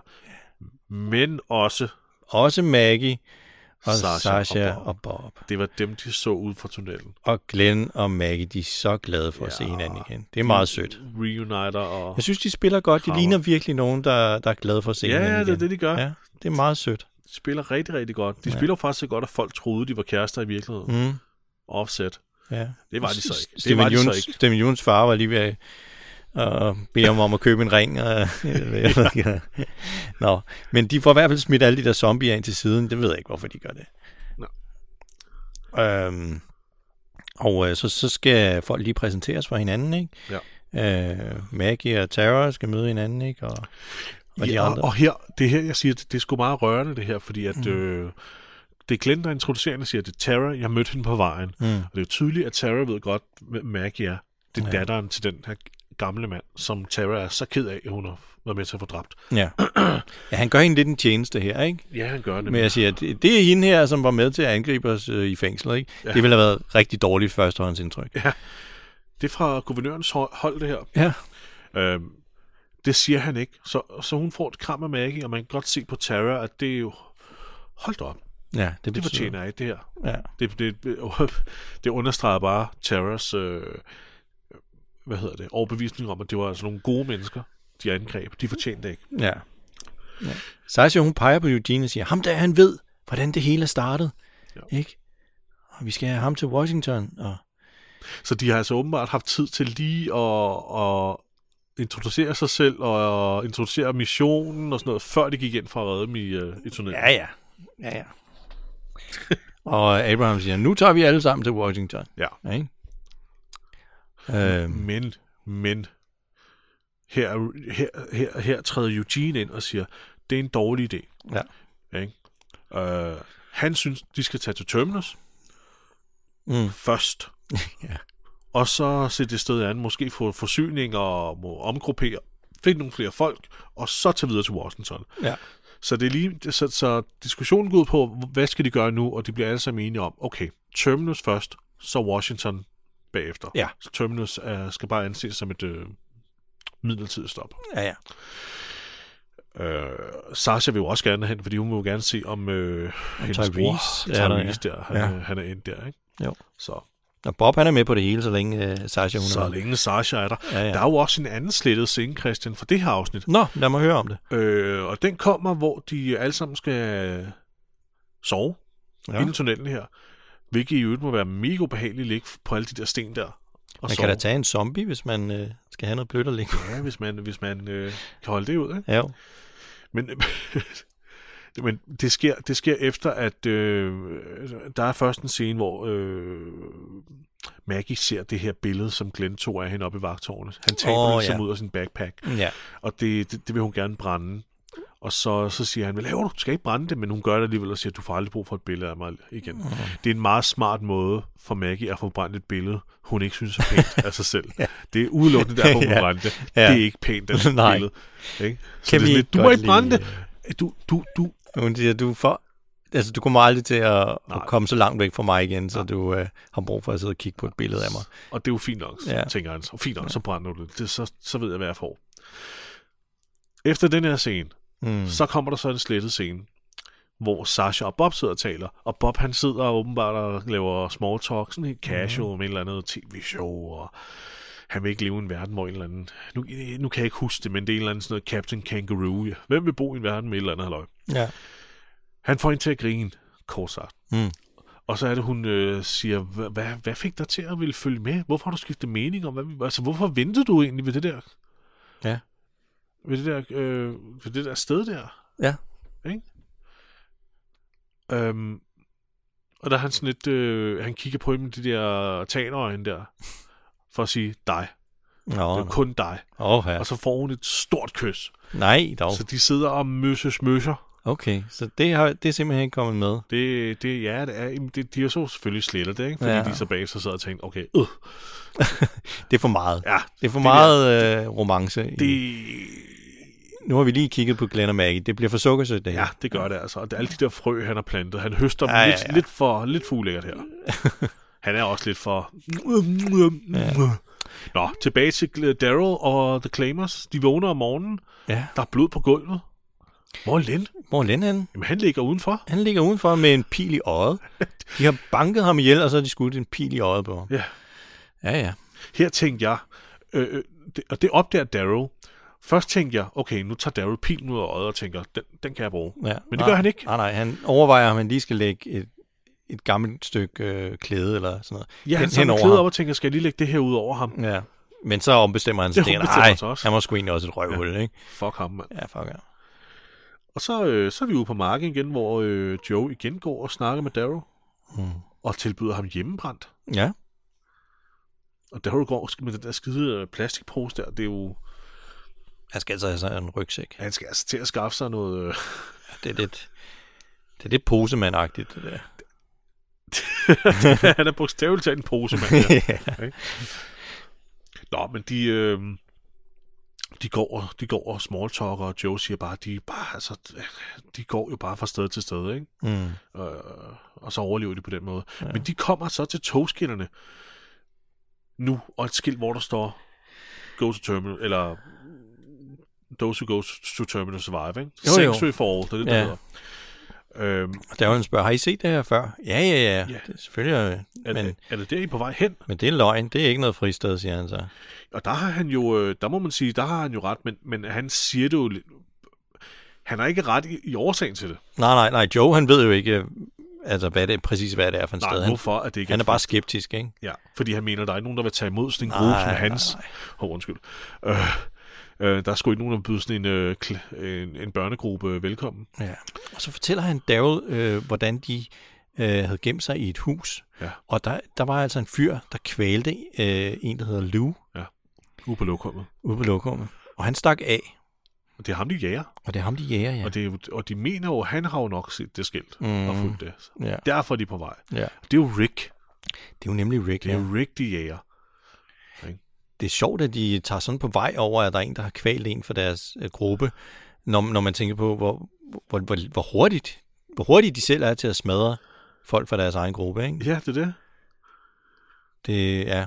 [SPEAKER 1] Men også
[SPEAKER 4] Også Maggie og
[SPEAKER 1] Sasha
[SPEAKER 4] Sasha, Sasha
[SPEAKER 1] og
[SPEAKER 4] og, Bob. og Bob.
[SPEAKER 1] Det var dem, de så ud fra tunnelen.
[SPEAKER 4] Og Glenn og Maggie, de er så glade for at se hinanden igen. Det er meget sødt.
[SPEAKER 1] Reuniter og...
[SPEAKER 4] Jeg synes, de spiller godt. De
[SPEAKER 1] Kramer.
[SPEAKER 4] ligner virkelig nogen, der, der er glade for at se
[SPEAKER 1] Ja,
[SPEAKER 4] hinanden
[SPEAKER 1] ja, det er
[SPEAKER 4] igen.
[SPEAKER 1] det, de gør.
[SPEAKER 4] Ja, det er meget sødt.
[SPEAKER 1] De spiller rigtig, rigtig godt. De ja. spiller jo faktisk så godt, at folk troede, de var kærester i virkeligheden.
[SPEAKER 4] Mm.
[SPEAKER 1] Offset.
[SPEAKER 4] Ja.
[SPEAKER 1] Det var de så ikke. Det
[SPEAKER 4] Steven
[SPEAKER 1] var de så
[SPEAKER 4] Jons-
[SPEAKER 1] ikke.
[SPEAKER 4] Steven Jons far var lige ved at og bede ham om at købe en ring.
[SPEAKER 1] <laughs>
[SPEAKER 4] Og, jeg ved ikke. Nå, men de får i hvert fald smidt alle de der zombier ind til siden. Det ved jeg ikke, hvorfor de gør det.
[SPEAKER 1] Nå.
[SPEAKER 4] Øhm, og øh, så, så skal folk lige præsenteres for hinanden, ikke? Ja. Øh, Maggie og Tara skal møde hinanden, ikke? Og, og ja, de
[SPEAKER 1] Ja, og,
[SPEAKER 4] andre.
[SPEAKER 1] og her, det her, jeg siger, det, det er sgu meget rørende, det her, fordi at... Mm. Øh, det er Glenn, der introducerer hende og siger, det er Tara, jeg mødte hende på vejen. Mm. Og det er jo tydeligt, at Tara ved godt, hvem Maggie er. Det er ja. datteren til den her gamle mand, som Tara er så ked af, at hun har været med til at få dræbt.
[SPEAKER 4] Ja. ja, han gør hende lidt en tjeneste her, ikke?
[SPEAKER 1] Ja, han gør det.
[SPEAKER 4] Men jeg siger, det, det er hende her, som var med til at angribe os øh, i fængslet, ikke? Ja. Det ville have været rigtig dårligt førstehåndsindtryk. Ja.
[SPEAKER 1] Det er fra guvernørens hol- hold, det her.
[SPEAKER 4] ja.
[SPEAKER 1] Øhm, det siger han ikke. Så, så hun får et kram af Maggie, og man kan godt se på Tara, at det er jo... Hold da op,
[SPEAKER 4] Ja, det
[SPEAKER 1] det
[SPEAKER 4] betyder...
[SPEAKER 1] fortjener jeg ikke, det her.
[SPEAKER 4] Ja.
[SPEAKER 1] Det, det, det understreger bare Taras øh, hvad hedder det, overbevisning om, at det var altså nogle gode mennesker, de angreb. De fortjente det ikke.
[SPEAKER 4] Ja. ja. Sasha, hun peger på Eugene og siger, ham der, han ved, hvordan det hele er startet. Ja. Ikke? Og vi skal have ham til Washington. Og...
[SPEAKER 1] Så de har altså åbenbart haft tid til lige at, at introducere sig selv og introducere missionen og sådan noget, før de gik ind for at redde dem i, øh, i turneringen.
[SPEAKER 4] Ja, ja. Ja, ja. og Abraham siger, nu tager vi alle sammen til Washington.
[SPEAKER 1] ja.
[SPEAKER 4] Ja, Ikke? Øhm,
[SPEAKER 1] Men, men, her, er- her, her, her træder Eugene ind og siger, det er en dårlig idé.
[SPEAKER 4] ja.
[SPEAKER 1] Ikke? Øh, han synes, de skal tage til Terminus
[SPEAKER 4] Mm.
[SPEAKER 1] først.
[SPEAKER 4] <laughs> Ja.
[SPEAKER 1] Og så se det sted an, måske få forsyninger og må omgruppere, finde nogle flere folk, og så tage videre til Washington.
[SPEAKER 4] Ja.
[SPEAKER 1] Så, det er lige, så, så diskussionen går ud på, hvad skal de gøre nu, og de bliver alle sammen enige om, okay, Terminus først, så Washington bagefter.
[SPEAKER 4] Ja.
[SPEAKER 1] Så Terminus øh, skal bare anses som et øh, midlertidigt stop.
[SPEAKER 4] ja, ja.
[SPEAKER 1] Øh, Sasha vil jo også gerne hen, fordi hun vil jo gerne se, om øh, hendes
[SPEAKER 4] Tyrese
[SPEAKER 1] bror,
[SPEAKER 4] er
[SPEAKER 1] Tyrese
[SPEAKER 4] der,
[SPEAKER 1] der,
[SPEAKER 4] ja.
[SPEAKER 1] der han,
[SPEAKER 4] Ja.
[SPEAKER 1] øh, han er endt der, ikke?
[SPEAKER 4] Jo.
[SPEAKER 1] Så,
[SPEAKER 4] Og Bob, han er med på det hele, så længe øh, Sasha, hun
[SPEAKER 1] så
[SPEAKER 4] er
[SPEAKER 1] længe Sasha er der.
[SPEAKER 4] Ja, ja.
[SPEAKER 1] Der er jo også en anden slettet scene, Christian, for det her afsnit.
[SPEAKER 4] Nå, lad mig høre om det.
[SPEAKER 1] Øh, og den kommer, hvor de alle sammen skal sove ja.
[SPEAKER 4] Ja.
[SPEAKER 1] inden tunnelen her. Hvilket i øvrigt må være mega behageligt at ligge på alle de der sten der. Og
[SPEAKER 4] Man
[SPEAKER 1] sove.
[SPEAKER 4] kan da tage en zombie, hvis man øh, skal have noget blødt at ligge.
[SPEAKER 1] Ja, hvis man, hvis man øh, kan holde det ud, ikke?
[SPEAKER 4] Ja,
[SPEAKER 1] Men, <laughs> men det, sker, det sker efter, at øh, der er først en scene, hvor øh, Maggie ser det her billede, som Glenn tog af hende oppe i vagtårnet. Han taber
[SPEAKER 4] Åh,
[SPEAKER 1] oh, ligesom
[SPEAKER 4] ja. Mm.
[SPEAKER 1] ud af sin backpack,
[SPEAKER 4] ja.
[SPEAKER 1] og det, det, det vil hun gerne brænde. Og så, så siger han, hvad laver du? Du skal ikke brænde det, men hun gør det alligevel og siger, du får aldrig brug for et billede af mig igen. Mm. Det er en meget smart måde for Maggie at få brændt et billede, hun ikke synes er pænt af sig selv.
[SPEAKER 4] <laughs>
[SPEAKER 1] Det er udelukkende derfor, hun
[SPEAKER 4] Ja.
[SPEAKER 1] ja. brændte det.
[SPEAKER 4] Ja.
[SPEAKER 1] Det er ikke pænt, det
[SPEAKER 4] <laughs> Nej.
[SPEAKER 1] billede. Ikke? Så
[SPEAKER 4] Kan
[SPEAKER 1] det er
[SPEAKER 4] vi
[SPEAKER 1] sådan, lidt,
[SPEAKER 4] ikke
[SPEAKER 1] du må
[SPEAKER 4] godt øh,
[SPEAKER 1] ikke brænde
[SPEAKER 4] lige-
[SPEAKER 1] det. Du, du, du,
[SPEAKER 4] Hun siger, du er for... Altså, du kommer aldrig til at, at
[SPEAKER 1] Nej.
[SPEAKER 4] komme så langt væk fra mig igen, så du øh, har brug for at sidde og kigge på et billede af mig.
[SPEAKER 1] og det er jo fint nok, ja.
[SPEAKER 4] Ja.
[SPEAKER 1] tænker han. Så fint nok, så brænder du det. det så, så ved jeg, hvad jeg får. Efter den her scene,
[SPEAKER 4] Mm.
[SPEAKER 1] mm. så kommer der så en slettet scene, hvor Sasha og Bob sidder og taler. Og Bob, han sidder åbenbart og laver small talk, sådan helt casual, mm. med et eller andet tv-show, og han vil ikke leve i en verden, hvor en eller anden... Nu, nu kan jeg ikke huske det, men det er en eller anden sådan noget Captain Kangaroo. Hvem vil bo i en verden med et eller andet halløj?
[SPEAKER 4] Ja.
[SPEAKER 1] Han får hende til at grine, kort sagt.
[SPEAKER 4] Mm.
[SPEAKER 1] Og så er det, hun øh, siger, "Hva- hvad, hvad fik dig til at ville følge med? Hvorfor har du skiftet mening om, hvad vi, altså, hvorfor ventede du egentlig ved det der,
[SPEAKER 4] Ja.
[SPEAKER 1] ved det der, øh, ved det der sted der?
[SPEAKER 4] Ja.
[SPEAKER 1] Ikke? Øhm, og der er han sådan lidt, øh, han kigger på hende med de der tanerøjne der, for at sige dig.
[SPEAKER 4] Nå,
[SPEAKER 1] Det er kun dig.
[SPEAKER 4] åh, ja.
[SPEAKER 1] Og så får hun et stort kys.
[SPEAKER 4] Nej, dog.
[SPEAKER 1] Så de sidder og møsses møsser.
[SPEAKER 4] Okay, så det, har, det er simpelthen ikke kommet med.
[SPEAKER 1] Det, det, ja, det er, jamen, det, de har så selvfølgelig slettet det, ikke? fordi
[SPEAKER 4] Ja.
[SPEAKER 1] ja. de så bagefter sidder og tænker, okay, øh,
[SPEAKER 4] Det er for meget.
[SPEAKER 1] ja,
[SPEAKER 4] Det er for
[SPEAKER 1] Det
[SPEAKER 4] det meget øh, romance. i-
[SPEAKER 1] det,
[SPEAKER 4] Nu har vi lige kikket på Glenn og Maggie. Det bliver for sukkersødt, det her.
[SPEAKER 1] Ja, det gør det altså. Og det er alle de der frø, han har plantet. Han høster ja,
[SPEAKER 4] Ja, ja,
[SPEAKER 1] lidt, ja,
[SPEAKER 4] ja.
[SPEAKER 1] lidt for lidt for ulækkert <laughs> her. han er også lidt for... Nå, tilbage til Gl- Daryl og The Claimers. De vågner om morgenen.
[SPEAKER 4] ja.
[SPEAKER 1] Der er blod på gulvet. Hvor er Len?
[SPEAKER 4] Hvor er Len henne?
[SPEAKER 1] Jamen, han ligger udenfor.
[SPEAKER 4] Han ligger udenfor med en pil i øjet. De har banket ham ihjel, og så har de skudt en pil i øjet på ham.
[SPEAKER 1] Ja.
[SPEAKER 4] Ja, ja.
[SPEAKER 1] Her tænkte jeg... Øh, øh, det, og det opdager Daryl. Først tænkte jeg, okay, nu tager Daryl pilen ud af øjet og tænker, den, den kan jeg bruge.
[SPEAKER 4] ja.
[SPEAKER 1] Men det
[SPEAKER 4] nej,
[SPEAKER 1] gør han ikke.
[SPEAKER 4] Nej, nej. Han overvejer, om han lige skal lægge et, et gammelt stykke øh, klæde eller sådan noget.
[SPEAKER 1] Ja, han
[SPEAKER 4] hen-
[SPEAKER 1] tager
[SPEAKER 4] henover
[SPEAKER 1] klæder
[SPEAKER 4] ham. Mm.
[SPEAKER 1] op og tænker, skal jeg lige lægge det her ud over ham?
[SPEAKER 4] Ja. Men så
[SPEAKER 1] <laughs>
[SPEAKER 4] ombestemmer han sig.
[SPEAKER 1] Det
[SPEAKER 4] Det
[SPEAKER 1] ombestemmer
[SPEAKER 4] nej,
[SPEAKER 1] han sig også.
[SPEAKER 4] han var sgu egentlig også et røvhul, ja. ikke?
[SPEAKER 1] Fuck ham, mand.
[SPEAKER 4] Ja, fuck ja.
[SPEAKER 1] Og så, øh, så er vi ude på marken igen, hvor øh, Joe igen går og snakker med Darrow. Mm. Og tilbyder ham hjemmebrændt.
[SPEAKER 4] Ja,
[SPEAKER 1] Og Darrow går sk- med den der skide øh, plastikpose der. Det er jo...
[SPEAKER 4] han skal altså have sig en rygsæk.
[SPEAKER 1] Han skal altså til at skaffe sig noget... Øh, <laughs>
[SPEAKER 4] Det er lidt, det er lidt posemandagtigt, det der.
[SPEAKER 1] han er bogstaveligt talt en pose, mand. <laughs>
[SPEAKER 4] <laughs>
[SPEAKER 1] Ja.
[SPEAKER 4] Ja.
[SPEAKER 1] Nå, men de... Øh, de går, og- de går og smalltalker, og Joe siger bare, de, er bare, altså, de går jo bare fra sted til sted, ikke?
[SPEAKER 4] mm.
[SPEAKER 1] Øh, og så overlever de på den måde. Ja. Men de kommer så til togskinnerne nu, og et skilt, hvor der står Go to Terminal, eller Those who go to Terminal Survive, ikke?
[SPEAKER 4] Jo, jo.
[SPEAKER 1] Sanctuary for all, det er det,
[SPEAKER 4] Ja.
[SPEAKER 1] ja. der Øhm,
[SPEAKER 4] Og der var en spørger, har I set det her før? Ja, ja, ja.
[SPEAKER 1] Ja.
[SPEAKER 4] ja. Det er selvfølgelig.
[SPEAKER 1] er,
[SPEAKER 4] øh,
[SPEAKER 1] men,
[SPEAKER 4] Men,
[SPEAKER 1] er det der, I er på vej hen?
[SPEAKER 4] men det er løgn. Det er ikke noget fristed, siger han så.
[SPEAKER 1] Og der har han jo, øh, der må man sige, der har han jo ret, men, men han siger det jo lidt- han har ikke ret i, i årsagen til det.
[SPEAKER 4] Nej, nej, nej. Joe, han ved jo ikke, øh, altså, hvad det er, præcis hvad det er for en sted.
[SPEAKER 1] Nej,
[SPEAKER 4] Han,
[SPEAKER 1] hvorfor at det ikke
[SPEAKER 4] han er bare skeptisk, ikke?
[SPEAKER 1] Ja, fordi han mener, der er ikke nogen, der vil tage imod sådan en gruppe
[SPEAKER 4] Nej,
[SPEAKER 1] som
[SPEAKER 4] nej,
[SPEAKER 1] hans. Åh, oh, undskyld. Øh, øh, der er sgu ikke nogen, der vil byde sådan en, øh, kl- en, en børnegruppe velkommen.
[SPEAKER 4] Ja. Og så fortæller han Daryl, øh, hvordan de øh, havde gemt sig i et hus.
[SPEAKER 1] Ja.
[SPEAKER 4] Og der, der var altså en fyr, der kvælte øh, en, der hedder Lou,
[SPEAKER 1] Ude på lokummet.
[SPEAKER 4] ude på lokummet. Og han stak af.
[SPEAKER 1] Og det er ham, de jager.
[SPEAKER 4] Og det er ham, de jæger, ja.
[SPEAKER 1] Og, det, er jo- og de mener jo, han har jo nok set det skilt mm. og
[SPEAKER 4] Mhm.
[SPEAKER 1] fulgt det.
[SPEAKER 4] ja.
[SPEAKER 1] Derfor er de på vej.
[SPEAKER 4] ja.
[SPEAKER 1] Det er jo Rick.
[SPEAKER 4] Det er jo nemlig
[SPEAKER 1] Det
[SPEAKER 4] Rick. Det
[SPEAKER 1] er
[SPEAKER 4] er, ja.
[SPEAKER 1] jo Rick, de jager.
[SPEAKER 4] det er sjovt, at de tager sådan på vej over, at der er en, der har kvalt en for deres øh, gruppe. Når, når man tænker på, hvor, hvor, hvor, hvor, hurtigt, hvor hurtigt de selv er til at smadre folk fra deres egen gruppe. Ikke?
[SPEAKER 1] Ja, det er det.
[SPEAKER 4] Det er...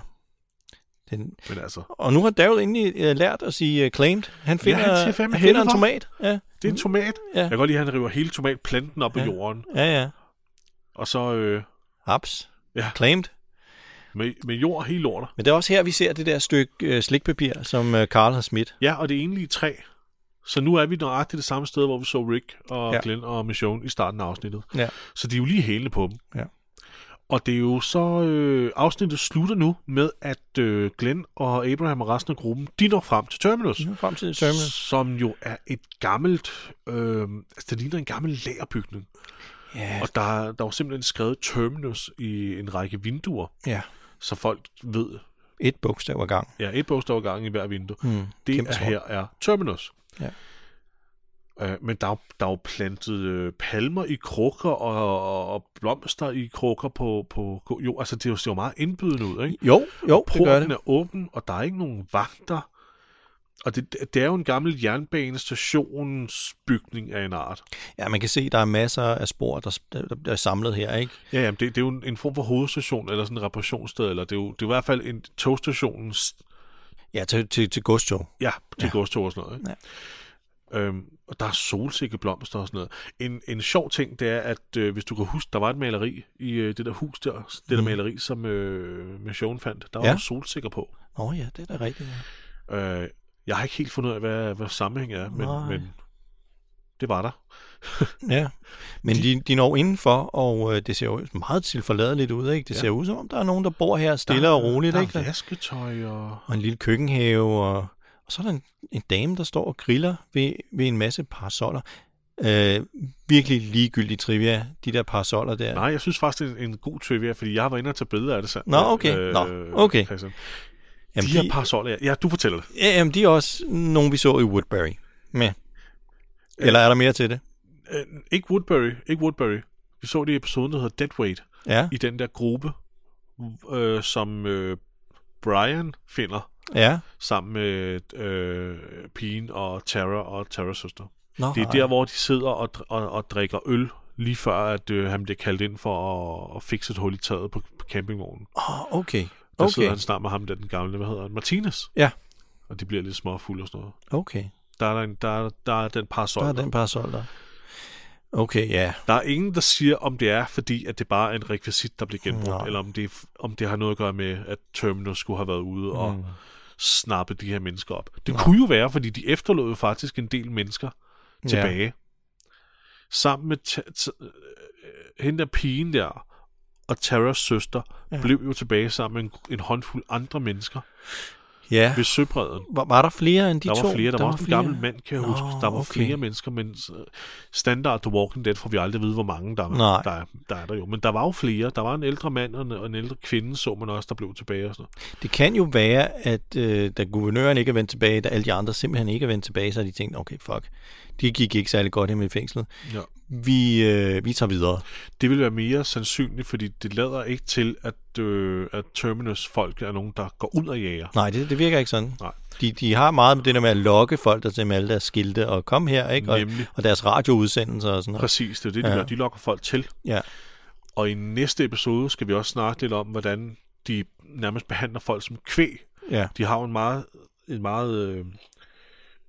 [SPEAKER 4] Den,
[SPEAKER 1] Men altså,
[SPEAKER 4] Og nu har Daryl endelig øh, lært at sige øh, claimed. Han finder,
[SPEAKER 1] han
[SPEAKER 4] ja,
[SPEAKER 1] siger
[SPEAKER 4] han
[SPEAKER 1] fandme
[SPEAKER 4] han finder en
[SPEAKER 1] helvede.
[SPEAKER 4] tomat. Ja,
[SPEAKER 1] det er en tomat.
[SPEAKER 4] Ja.
[SPEAKER 1] Jeg kan godt lide, at han river hele tomatplanten op ja.
[SPEAKER 4] Ja.
[SPEAKER 1] af jorden.
[SPEAKER 4] ja, ja.
[SPEAKER 1] Og så øh,
[SPEAKER 4] Haps.
[SPEAKER 1] Ja.
[SPEAKER 4] Ja. Claimed.
[SPEAKER 1] med, med jord hele lortet.
[SPEAKER 4] Men det er også her, vi ser det der stykke øh, slikpapir, som øh, Carl har smidt.
[SPEAKER 1] Ja, og det er egentlig træ. Så nu er vi nøjagtigt det samme sted, hvor vi så Rick og ja.
[SPEAKER 4] Ja.
[SPEAKER 1] Glenn og Michonne i starten af afsnittet.
[SPEAKER 4] Ja.
[SPEAKER 1] Så de er jo lige hælene på dem.
[SPEAKER 4] Ja.
[SPEAKER 1] Og det er jo så, øh, afsnittet slutter nu med, at øh, Glenn og Abraham og resten af gruppen, de når frem til Terminus.
[SPEAKER 4] Nu frem til terminal.
[SPEAKER 1] Som jo er et gammelt, øh, altså det ligner en gammel lagerbygning.
[SPEAKER 4] Ja,
[SPEAKER 1] Og der, der er jo simpelthen skrevet Terminus i en række vinduer,
[SPEAKER 4] ja.
[SPEAKER 1] så folk ved,
[SPEAKER 4] Et bogstav ad gang.
[SPEAKER 1] ja, et bogstav ad gangen i hver vindue.
[SPEAKER 4] Mm.
[SPEAKER 1] Det
[SPEAKER 4] Kæmpe
[SPEAKER 1] er,
[SPEAKER 4] stor.
[SPEAKER 1] her er Terminus.
[SPEAKER 4] Ja.
[SPEAKER 1] Øh, men der er, jo- der er jo plantet øh, palmer i krukker og, og, og blomster i krukker på, på... Jo, altså det ser jo meget indbydende ud, ikke?
[SPEAKER 4] Jo, jo, det gør
[SPEAKER 1] Porten
[SPEAKER 4] det.
[SPEAKER 1] er åben, og der er ikke nogen vagter. Og det, det er jo en gammel jernbanestationsbygning af en art.
[SPEAKER 4] Ja, man kan se, der er masser af spor, der, der, der er samlet her, ikke?
[SPEAKER 1] Ja, jamen, det, det er jo en, en form for hovedstation, eller sådan en reparationssted, eller det er jo, det er jo i hvert fald en togstationens
[SPEAKER 4] Ja, til, til, til godstog.
[SPEAKER 1] Ja, til ja. godstog og sådan noget. Ikke? Ja. Øhm, og der er solsikkeblomster og sådan noget. En, en sjov ting, det er, at øh, hvis du kan huske, der var et maleri i øh, det der hus der, det der maleri, som øh, Mission fandt, der var
[SPEAKER 4] Mm. Ja.
[SPEAKER 1] ja. solsikker på.
[SPEAKER 4] Nå ja, det er da rigtigt. Ja.
[SPEAKER 1] Øh, jeg har ikke helt fundet ud af, hvad, hvad sammenhængen er, men,
[SPEAKER 4] Nej.
[SPEAKER 1] men det var der.
[SPEAKER 4] Ja, men de, de når indenfor, og øh, det ser jo meget tilforladeligt ud, ikke? Det ja. ser ud som om, der er nogen, der bor her stille
[SPEAKER 1] der,
[SPEAKER 4] og roligt,
[SPEAKER 1] der
[SPEAKER 4] ikke?
[SPEAKER 1] Der er vasketøj og...
[SPEAKER 4] og en lille køkkenhave, og, og så er der en, en dame, der står og griller ved, ved en masse parasoller. Øh, virkelig ligegyldig trivia, de der parasoller der.
[SPEAKER 1] Nej, jeg synes faktisk, det er en, en god trivia, fordi jeg var inde og tage billeder af det selv. Øh,
[SPEAKER 4] Nå, okay. Nå, okay.
[SPEAKER 1] Christian.
[SPEAKER 4] jamen,
[SPEAKER 1] De her parasoller, ja, du fortæller det.
[SPEAKER 4] ja, jamen, de er også nogen, vi så i Woodbury. Med. Eller er der mere til det?
[SPEAKER 1] Øh, ikke Woodbury, ikke Woodbury. Vi så det i episoden, der hedder Deadweight,
[SPEAKER 4] Ja,
[SPEAKER 1] i den der gruppe, øh, som øh, Brian finder
[SPEAKER 4] ja.
[SPEAKER 1] sammen med øh, pigen og Tara og Taras søster.
[SPEAKER 4] Nå,
[SPEAKER 1] Det er der, hvor de sidder og, dr- og, og drikker øl, lige før at øh, han bliver kaldt ind for at, at fikse et hul i taget på, på campingvognen.
[SPEAKER 4] Oh, okay,
[SPEAKER 1] Der okay. sidder
[SPEAKER 4] okay,
[SPEAKER 1] han snart med ham, der den gamle, hvad hedder han, Martinez.
[SPEAKER 4] Ja.
[SPEAKER 1] Og de bliver lidt småfulde og sådan noget.
[SPEAKER 4] okay.
[SPEAKER 1] Der er, der en, der, er- der er den parasol.
[SPEAKER 4] Der er den parasol der. Okay, ja.
[SPEAKER 1] Der er ingen, der siger, om det er, fordi at det bare er en rekvisit, der bliver genbrugt,
[SPEAKER 4] Nej.
[SPEAKER 1] eller om det, om det har noget at gøre med, at Terminus skulle have været ude og snappe de her mennesker op. Det kunne jo være, fordi de efterlod jo faktisk en del mennesker tilbage. Sammen med ta- ta- øh, hende der pigen der, og Taras søster, ja. blev jo tilbage sammen med en, gr- en håndfuld andre mennesker
[SPEAKER 4] Ja,
[SPEAKER 1] ved søbredden.
[SPEAKER 4] var, var der flere end de
[SPEAKER 1] der
[SPEAKER 4] to?
[SPEAKER 1] var flere. Der, var også en
[SPEAKER 4] flere?
[SPEAKER 1] gammel mand, kan jeg
[SPEAKER 4] Nå,
[SPEAKER 1] huske. Der var
[SPEAKER 4] okay.
[SPEAKER 1] flere mennesker, men øh, standard The Walking Dead får vi aldrig at vide, hvor mange der,
[SPEAKER 4] Nej.
[SPEAKER 1] der, er, der er der jo. Men der var jo flere. Der var en ældre mand og en, og en ældre kvinde, så man også, der blev tilbage og sådan noget.
[SPEAKER 4] Det kan jo være, at øh, da guvernøren ikke er vendt tilbage, da alle de andre simpelthen ikke er vendt tilbage, så har de tænkt, okay, fuck, de gik ikke særlig godt hjemme i fængslet.
[SPEAKER 1] Ja.
[SPEAKER 4] Vi, øh, vi tager videre.
[SPEAKER 1] Det ville være mere sandsynligt, fordi det lader ikke til, at, øh, at Terminus-folk er nogen, der går ud og jager.
[SPEAKER 4] Nej, det, det virker ikke sådan.
[SPEAKER 1] Nej.
[SPEAKER 4] De, de har meget med det der med at lokke folk, der til med alle deres skilte og kom her, ikke? Og,
[SPEAKER 1] Nemlig.
[SPEAKER 4] og deres radioudsendelser og sådan noget.
[SPEAKER 1] Præcis, det er det, de ja.
[SPEAKER 4] Ja.
[SPEAKER 1] gør. De lokker folk til.
[SPEAKER 4] Ja.
[SPEAKER 1] Og i næste episode skal vi også snakke lidt om, hvordan de nærmest behandler folk som kvæg.
[SPEAKER 4] ja.
[SPEAKER 1] De har jo en meget, en meget øh,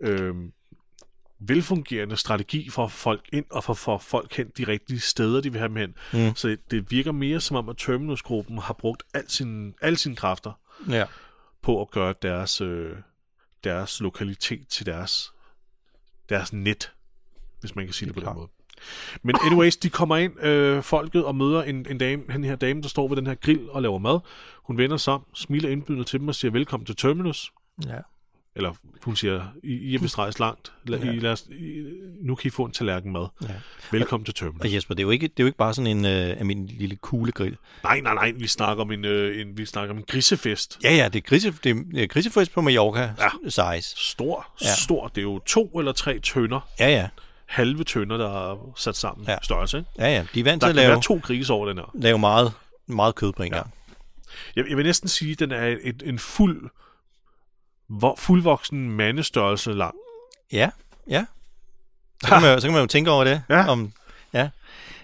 [SPEAKER 1] øh, velfungerende strategi for at få folk ind og for, for folk hen de rigtige steder, de vil have dem hen. Mm. Så det virker mere som om, at Terminus-gruppen har brugt al sin, alle sine kræfter
[SPEAKER 4] Ja.
[SPEAKER 1] på at gøre deres, øh, deres lokalitet til deres, deres net, hvis man kan sige det, det på den måde. Men anyways, de kommer ind, øh, folket, og møder en, en dame, den her dame, der står ved den her grill og laver mad. Hun vender sig om, smiler indbydende til dem og siger, velkommen til Terminus.
[SPEAKER 4] Ja.
[SPEAKER 1] Eller hun siger, I, I er vist rejst langt. La, I, lad os, I, nu kan I få en tallerken mad. Ja. Velkommen til Terminus.
[SPEAKER 4] Og Jesper, det er jo ikke, det er jo ikke bare sådan en øh, almindelig lille kuglegrill.
[SPEAKER 1] Nej, nej, nej, vi snakker om en, øh, en, vi snakker om en grisefest.
[SPEAKER 4] Ja, ja, det er, grise, det er øh, grisefest på Mallorca ja. size.
[SPEAKER 1] Stor,
[SPEAKER 4] Ja.
[SPEAKER 1] ja. stor. Det er jo to eller tre tønder
[SPEAKER 4] Ja, ja.
[SPEAKER 1] halve tønder, der er sat sammen
[SPEAKER 4] Ja.
[SPEAKER 1] ja. størrelse. Ikke?
[SPEAKER 4] Ja, ja. De er vant
[SPEAKER 1] Der
[SPEAKER 4] til at
[SPEAKER 1] kan
[SPEAKER 4] lave,
[SPEAKER 1] være to grise over den her.
[SPEAKER 4] lave meget, meget kød på en ja. gang.
[SPEAKER 1] Jeg, jeg vil næsten sige, at den er et, en fuld, hvor, fuldvoksen mandestørrelse lang.
[SPEAKER 4] Ja, ja. Så kan, man, jo- så kan man jo tænke over det.
[SPEAKER 1] Ja.
[SPEAKER 4] Om, ja.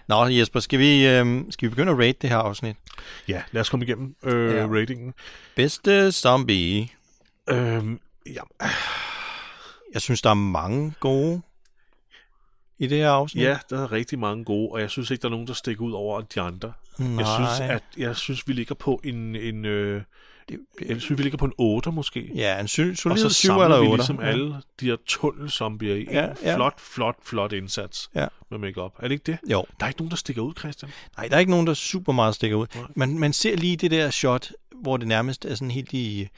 [SPEAKER 4] Nå, Jesper, skal vi, øh, skal vi begynde at rate det her afsnit?
[SPEAKER 1] Ja, lad os komme igennem øh,
[SPEAKER 4] Ja.
[SPEAKER 1] ja. ratingen.
[SPEAKER 4] Bedste zombie.
[SPEAKER 1] Øh, ja,
[SPEAKER 4] Jeg synes, der er mange gode i det her afsnit.
[SPEAKER 1] ja, der er rigtig mange gode, og jeg synes ikke, der er nogen, der stikker ud over de andre.
[SPEAKER 4] Nej.
[SPEAKER 1] Jeg synes, at jeg synes, vi ligger på en, en øh, jeg synes, vi ligger på en 8 måske.
[SPEAKER 4] Ja, en sy-
[SPEAKER 1] og
[SPEAKER 4] solid
[SPEAKER 1] så
[SPEAKER 4] 7 eller
[SPEAKER 1] samler
[SPEAKER 4] 8.
[SPEAKER 1] vi ligesom alle de her tunnelsombier i
[SPEAKER 4] Ja,
[SPEAKER 1] ja, en
[SPEAKER 4] ja.
[SPEAKER 1] flot, flot, flot indsats
[SPEAKER 4] Ja.
[SPEAKER 1] med makeup. Er det ikke det?
[SPEAKER 4] Jo.
[SPEAKER 1] Der er ikke nogen, der stikker ud, Christian.
[SPEAKER 4] Nej, der er ikke nogen, der super meget stikker ud. Man, man ser lige det der shot, hvor det nærmest er sådan helt i,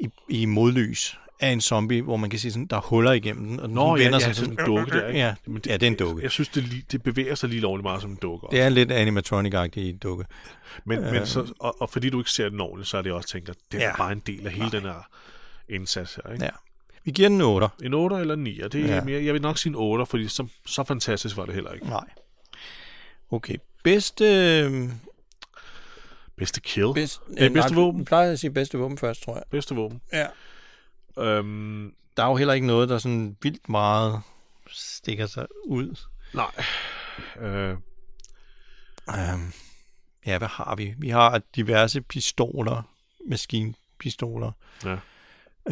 [SPEAKER 4] i, i modlys af en zombie, hvor man kan se, sådan, der er huller igennem den, og den
[SPEAKER 1] Nå,
[SPEAKER 4] vender
[SPEAKER 1] ja, ja,
[SPEAKER 4] sig
[SPEAKER 1] sådan en dukke der, ikke?
[SPEAKER 4] Ja,
[SPEAKER 1] Jamen,
[SPEAKER 4] ja, det er en dukke.
[SPEAKER 1] Jeg, jeg synes, det, li- det bevæger sig lige lovligt meget som en dukke.
[SPEAKER 4] Det er lidt animatronic-agtig dukke.
[SPEAKER 1] Men, men så, og, og fordi du ikke ser den ordentligt, så er det også tænkt, at det
[SPEAKER 4] øh. Ja.
[SPEAKER 1] er bare en del af hele den her indsats her. Ikke?
[SPEAKER 4] Ja. Vi giver den 8.
[SPEAKER 1] En 8 eller en 9, det er
[SPEAKER 4] Ja.
[SPEAKER 1] ja. mere, jeg vil nok sige en 8, fordi så, så fantastisk var det heller ikke.
[SPEAKER 4] Nej. Okay. Bedste... Øh,
[SPEAKER 1] Bedste kill, Best.
[SPEAKER 4] bedst,
[SPEAKER 1] Øh, bedste våben?
[SPEAKER 4] Jeg plejer at sige bedste våben først, tror jeg.
[SPEAKER 1] bedste våben.
[SPEAKER 4] Ja.
[SPEAKER 1] Øhm,
[SPEAKER 4] Der er jo heller ikke noget, der sådan vildt meget stikker sig ud.
[SPEAKER 1] nej, øh,
[SPEAKER 4] Um, ja, hvad har vi? Vi har diverse pistoler, maskinpistoler,
[SPEAKER 1] ja.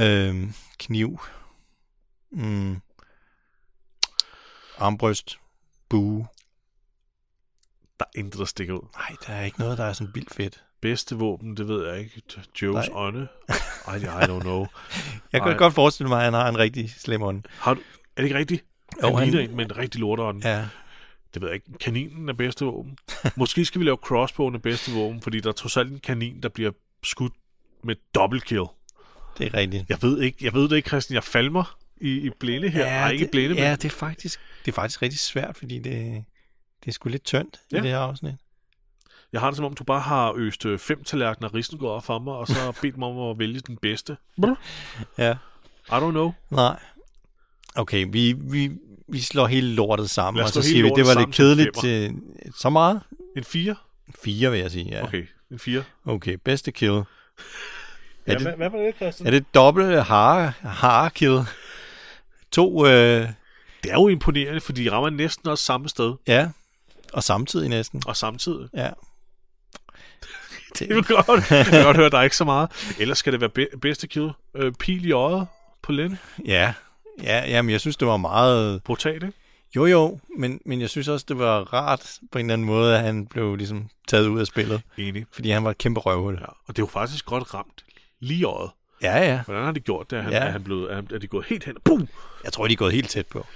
[SPEAKER 4] øhm, kniv, mm, armbryst, bue.
[SPEAKER 1] der er intet, der stikker ud.
[SPEAKER 4] Nej, der er ikke noget, der er sådan vildt fedt.
[SPEAKER 1] Bedste våben, det ved jeg ikke. Joes
[SPEAKER 4] Nej.
[SPEAKER 1] ånde? Ej, I don't know.
[SPEAKER 4] Jeg kan
[SPEAKER 1] Ej.
[SPEAKER 4] godt forestille mig, at han har en rigtig slem ånd.
[SPEAKER 1] Har du, er det ikke rigtigt?
[SPEAKER 4] Jo,
[SPEAKER 1] Jo, han
[SPEAKER 4] han-
[SPEAKER 1] ligner en med en rigtig lorteånd.
[SPEAKER 4] Ja,
[SPEAKER 1] Det ved jeg ikke. Kaninen er bedste våben. Måske skal vi lave crossbowen er bedste våben, fordi der er trods alt en kanin, der bliver skudt med double kill.
[SPEAKER 4] det er rigtigt.
[SPEAKER 1] Jeg ved, ikke, jeg ved det ikke, Christian. Jeg falmer i, i blinde her. Ja, Ej, ikke
[SPEAKER 4] det,
[SPEAKER 1] blinde,
[SPEAKER 4] ja
[SPEAKER 1] men
[SPEAKER 4] det, er faktisk, det er faktisk rigtig svært, fordi det, det er sgu lidt tyndt ja.
[SPEAKER 1] Ja.
[SPEAKER 4] i det her afsnit.
[SPEAKER 1] jeg har det som om, du bare har øst øh, fem tallerkener risengrød for mig, og så har bedt mig om at vælge den bedste.
[SPEAKER 4] Ja.
[SPEAKER 1] I don't know.
[SPEAKER 4] Nej. Okay, vi, vi, vi slår hele lortet sammen,
[SPEAKER 1] Lad
[SPEAKER 4] og
[SPEAKER 1] os slå
[SPEAKER 4] så siger vi,
[SPEAKER 1] hele
[SPEAKER 4] det var
[SPEAKER 1] lortet
[SPEAKER 4] lidt
[SPEAKER 1] sammen til
[SPEAKER 4] kedeligt til så meget.
[SPEAKER 1] En fire?
[SPEAKER 4] Fire, vil jeg sige, ja.
[SPEAKER 1] Okay, en fire.
[SPEAKER 4] okay bedste kill. Er,
[SPEAKER 1] Ja,
[SPEAKER 4] det,
[SPEAKER 1] hvad, hvad var det, Christian?
[SPEAKER 4] er det dobbelt hare, hare kill? To, øh,
[SPEAKER 1] Det er jo imponerende, fordi de rammer næsten også samme sted,
[SPEAKER 4] ja, og samtidig næsten.
[SPEAKER 1] og samtidig. <laughs>
[SPEAKER 4] <laughs> Ja.
[SPEAKER 1] Det er godt. Jeg kan godt høre, der er ikke så meget. Ellers skal det være be- bedste kill. Øh, pil i øjet på Len.
[SPEAKER 4] Ja, ja jamen, jeg synes, det var meget...
[SPEAKER 1] Brutalt, ikke?
[SPEAKER 4] Jo, jo, men, men jeg synes også, det var rart på en eller anden måde, at han blev ligesom taget ud af spillet,
[SPEAKER 1] Enig.
[SPEAKER 4] fordi han var et kæmpe røvhul.
[SPEAKER 1] Ja, og det er jo faktisk godt ramt lige i øjet.
[SPEAKER 4] Ja, ja.
[SPEAKER 1] Hvordan har det gjort det? Er han,
[SPEAKER 4] Ja.
[SPEAKER 1] ja. er han blevet, er, han- er de gået helt hen? Boom!
[SPEAKER 4] Jeg tror, de er gået helt tæt på.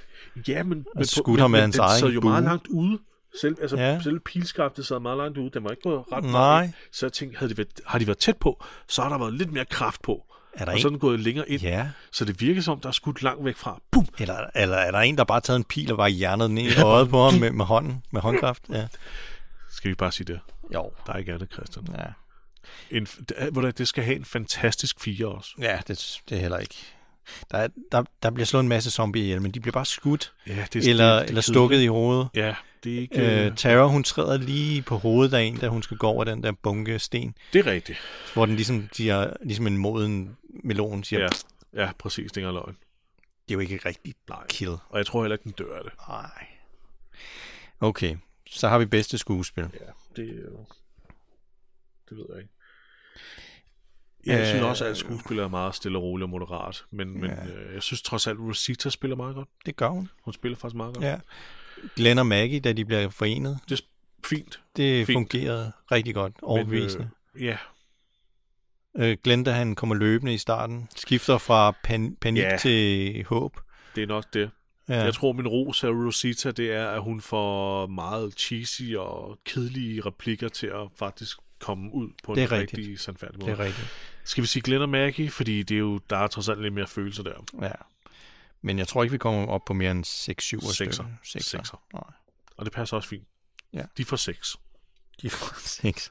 [SPEAKER 1] Ja, men, men,
[SPEAKER 4] skudt ham med hans
[SPEAKER 1] den
[SPEAKER 4] egen
[SPEAKER 1] sad jo
[SPEAKER 4] bue.
[SPEAKER 1] meget langt ude. Selv, altså,
[SPEAKER 4] Ja.
[SPEAKER 1] ja. selv pilskaftet sad meget langt ude. Den var ikke gået ret
[SPEAKER 4] Nej.
[SPEAKER 1] meget. ind. Så jeg tænkte, havde de været, har de været tæt på, så har der været lidt mere kraft på.
[SPEAKER 4] Er der
[SPEAKER 1] og
[SPEAKER 4] en-
[SPEAKER 1] så er den gået længere ind.
[SPEAKER 4] Ja.
[SPEAKER 1] Så det virker som, der er skudt langt væk fra. Boom!
[SPEAKER 4] Eller, eller er der en, der bare har taget en pil og bare hjernet ned i øjet på ham med, med hånden, med håndkraft? Ja.
[SPEAKER 1] Skal vi bare sige det?
[SPEAKER 4] Jo.
[SPEAKER 1] Der er ikke andet, Christian.
[SPEAKER 4] Ja,
[SPEAKER 1] En, det, hvordan- det skal have en fantastisk fire også.
[SPEAKER 4] ja det, det er heller ikke. Der, er- der, der bliver slået en masse zombier ihjel, men de bliver bare skudt
[SPEAKER 1] Ja, det,
[SPEAKER 4] eller,
[SPEAKER 1] det, det
[SPEAKER 4] eller stukket i hovedet.
[SPEAKER 1] Ja, det er ikke...
[SPEAKER 4] Øh,
[SPEAKER 1] Øh,
[SPEAKER 4] Tara, hun træder lige på hovedet af en, da hun skal gå over den der bunke sten,
[SPEAKER 1] det er rigtigt.
[SPEAKER 4] hvor den ligesom, siger, ligesom en moden melon siger, ja.
[SPEAKER 1] Ja, ja præcis. Det er ikke engang løgn.
[SPEAKER 4] det er jo ikke rigtig
[SPEAKER 1] Nej.
[SPEAKER 4] kill.
[SPEAKER 1] Og jeg tror heller ikke, den dør af det.
[SPEAKER 4] Nej. Okay, så har vi bedste skuespil.
[SPEAKER 1] Ja, det er jo... Det ved jeg ikke. Jeg synes
[SPEAKER 4] Øh,
[SPEAKER 1] også, at skuespillere er meget stille og roligt og moderat, men, men øh, jeg synes trods alt, at Rosita spiller meget godt.
[SPEAKER 4] Det gør hun.
[SPEAKER 1] Hun spiller faktisk meget godt.
[SPEAKER 4] Ja. Glenn og Maggie, da de bliver forenet,
[SPEAKER 1] Det er sp- fint. Fint.
[SPEAKER 4] det Fint. fungerede rigtig godt, overbevisende.
[SPEAKER 1] Men, øh, ja,
[SPEAKER 4] Øh, Glenn, da han kommer løbende i starten, skifter fra pan- panik
[SPEAKER 1] Ja.
[SPEAKER 4] yeah. til håb.
[SPEAKER 1] det er nok det.
[SPEAKER 4] Ja.
[SPEAKER 1] Jeg tror, min ros af Rosita, det er, at hun får meget cheesy og kedelige replikker til at faktisk komme ud på
[SPEAKER 4] Det er
[SPEAKER 1] en
[SPEAKER 4] rigtigt.
[SPEAKER 1] rigtig sandfærdig måde.
[SPEAKER 4] det er rigtigt.
[SPEAKER 1] Skal vi sige Glenn og Maggie? Fordi det er jo, der er trods alt lidt mere følelser der.
[SPEAKER 4] Ja. Men jeg tror ikke, vi kommer op på mere end 6-7
[SPEAKER 1] Sekser.
[SPEAKER 4] stykker. Sekser.
[SPEAKER 1] Sekser.
[SPEAKER 4] Nej,
[SPEAKER 1] Og det passer også fint.
[SPEAKER 4] Ja.
[SPEAKER 1] De får seks.
[SPEAKER 4] <laughs> de får 6.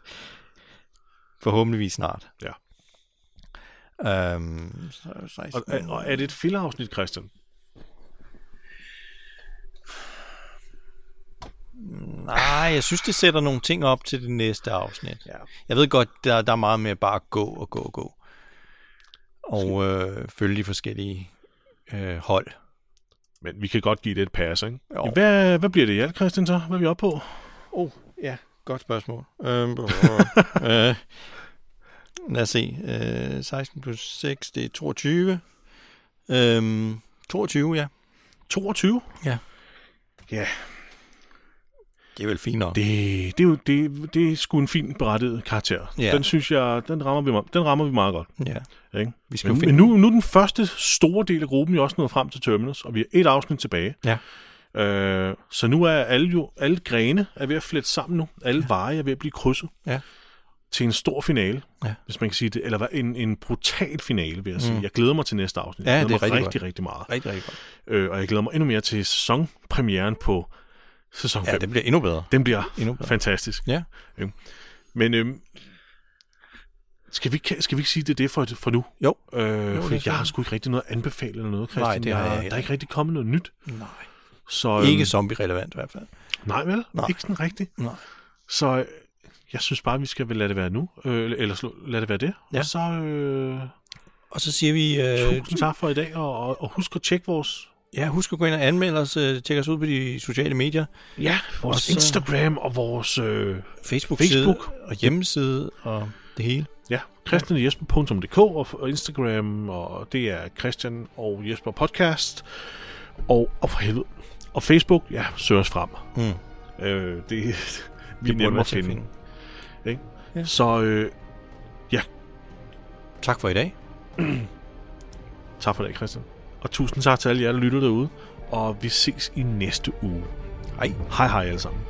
[SPEAKER 4] Forhåbentlig snart.
[SPEAKER 1] Ja.
[SPEAKER 4] Øhm, så 16.
[SPEAKER 1] Og, øh, og, og er det et fillerafsnit, Christian?
[SPEAKER 4] Nej, Ah, jeg synes, det sætter nogle ting op til det næste afsnit. Ja. Jeg ved godt, der, der er meget med bare at gå og gå og gå. Og øh, følge de forskellige øh, hold.
[SPEAKER 1] Men vi kan godt give det et pas, ikke?
[SPEAKER 4] Jo.
[SPEAKER 1] Hvad, hvad bliver det i alt, Christian, så? Hvad er vi oppe på?
[SPEAKER 4] Oh, ja, godt spørgsmål. Øhm, <laughs> øh, lad os se. Øh, 16 plus 6, det er 22. Øhm, 22, ja.
[SPEAKER 1] 22?
[SPEAKER 4] Ja.
[SPEAKER 1] Ja,
[SPEAKER 4] Det er vel fint nok. Det,
[SPEAKER 1] det, det, er jo, det, det er sgu en fin berettiget karakter.
[SPEAKER 4] Ja.
[SPEAKER 1] Den synes jeg, den rammer vi, me- den rammer vi meget godt.
[SPEAKER 4] ja.
[SPEAKER 1] Ikke?
[SPEAKER 4] Vi skal
[SPEAKER 1] men,
[SPEAKER 4] jo
[SPEAKER 1] men
[SPEAKER 4] finde-
[SPEAKER 1] nu, nu er den første store del af gruppen jo også nået frem til Terminus, og vi har et afsnit tilbage.
[SPEAKER 4] Ja.
[SPEAKER 1] Øh, så nu er alle jo, alle grene er ved at flette sammen nu. Alle ja. veje er ved at blive krydset
[SPEAKER 4] Ja.
[SPEAKER 1] til en stor finale,
[SPEAKER 4] Ja. Mm.
[SPEAKER 1] hvis man kan sige det. Eller hvad, en, en brutal finale, vil jeg sige. Jeg glæder mig til næste afsnit.
[SPEAKER 4] Ja,
[SPEAKER 1] jeg
[SPEAKER 4] det
[SPEAKER 1] glæder
[SPEAKER 4] er
[SPEAKER 1] mig
[SPEAKER 4] rigtig
[SPEAKER 1] rigtig,
[SPEAKER 4] godt.
[SPEAKER 1] rigtig meget.
[SPEAKER 4] Rigtig, rigtig godt.
[SPEAKER 1] Øh, og jeg glæder mig endnu mere til sæsonpremieren på sæson 5.
[SPEAKER 4] Ja, det bliver endnu bedre.
[SPEAKER 1] Den bliver
[SPEAKER 4] Endnu bedre.
[SPEAKER 1] fantastisk.
[SPEAKER 4] Ja.
[SPEAKER 1] Men øhm, skal, vi, ikke- skal vi ikke sige, det er det for, for nu?
[SPEAKER 4] Jo.
[SPEAKER 1] Øh,
[SPEAKER 4] Jo,
[SPEAKER 1] jo, fordi
[SPEAKER 4] det er
[SPEAKER 1] jeg har
[SPEAKER 4] fint.
[SPEAKER 1] sgu ikke rigtig noget at anbefale eller noget, Christian.
[SPEAKER 4] Nej, det har
[SPEAKER 1] jeg,
[SPEAKER 4] jeg
[SPEAKER 1] Der
[SPEAKER 4] heller
[SPEAKER 1] er ikke rigtig kommet noget nyt.
[SPEAKER 4] Nej.
[SPEAKER 1] Så, øhm,
[SPEAKER 4] Ikke zombie-relevant i hvert fald.
[SPEAKER 1] Nej vel?
[SPEAKER 4] Nej.
[SPEAKER 1] Ikke sådan rigtigt.
[SPEAKER 4] Nej.
[SPEAKER 1] Så øh, jeg synes bare, vi skal vel lade det være nu. Øh, eller slå, lade det være det.
[SPEAKER 4] Ja.
[SPEAKER 1] Og så øh,
[SPEAKER 4] Og så siger vi... Øh,
[SPEAKER 1] tusind tak for i dag, og, og, og husk at tjekke vores,
[SPEAKER 4] ja, husk at gå ind og anmelde os. Øh, tjek os ud på de sociale medier.
[SPEAKER 1] ja, vores
[SPEAKER 4] så-
[SPEAKER 1] Instagram og vores... Øh,
[SPEAKER 4] Facebook-side
[SPEAKER 1] Facebook.
[SPEAKER 4] og hjemmeside og det hele.
[SPEAKER 1] Ja, christianjesper.dk og og Instagram, og det er Christian og Jesper Podcast. Og, og for helvede. Og Facebook, ja, søg os frem. Mm. Øh, det, <laughs> vi det er nemme
[SPEAKER 4] være
[SPEAKER 1] at
[SPEAKER 4] til at
[SPEAKER 1] finde. Ikke?
[SPEAKER 4] Ja.
[SPEAKER 1] Så øh,
[SPEAKER 4] Tak for i dag.
[SPEAKER 1] tak for i dag, Christian. Og tusind tak til alle jer, der lytter derude. Og vi ses i næste uge.
[SPEAKER 4] Hej.
[SPEAKER 1] Hej hej alle sammen.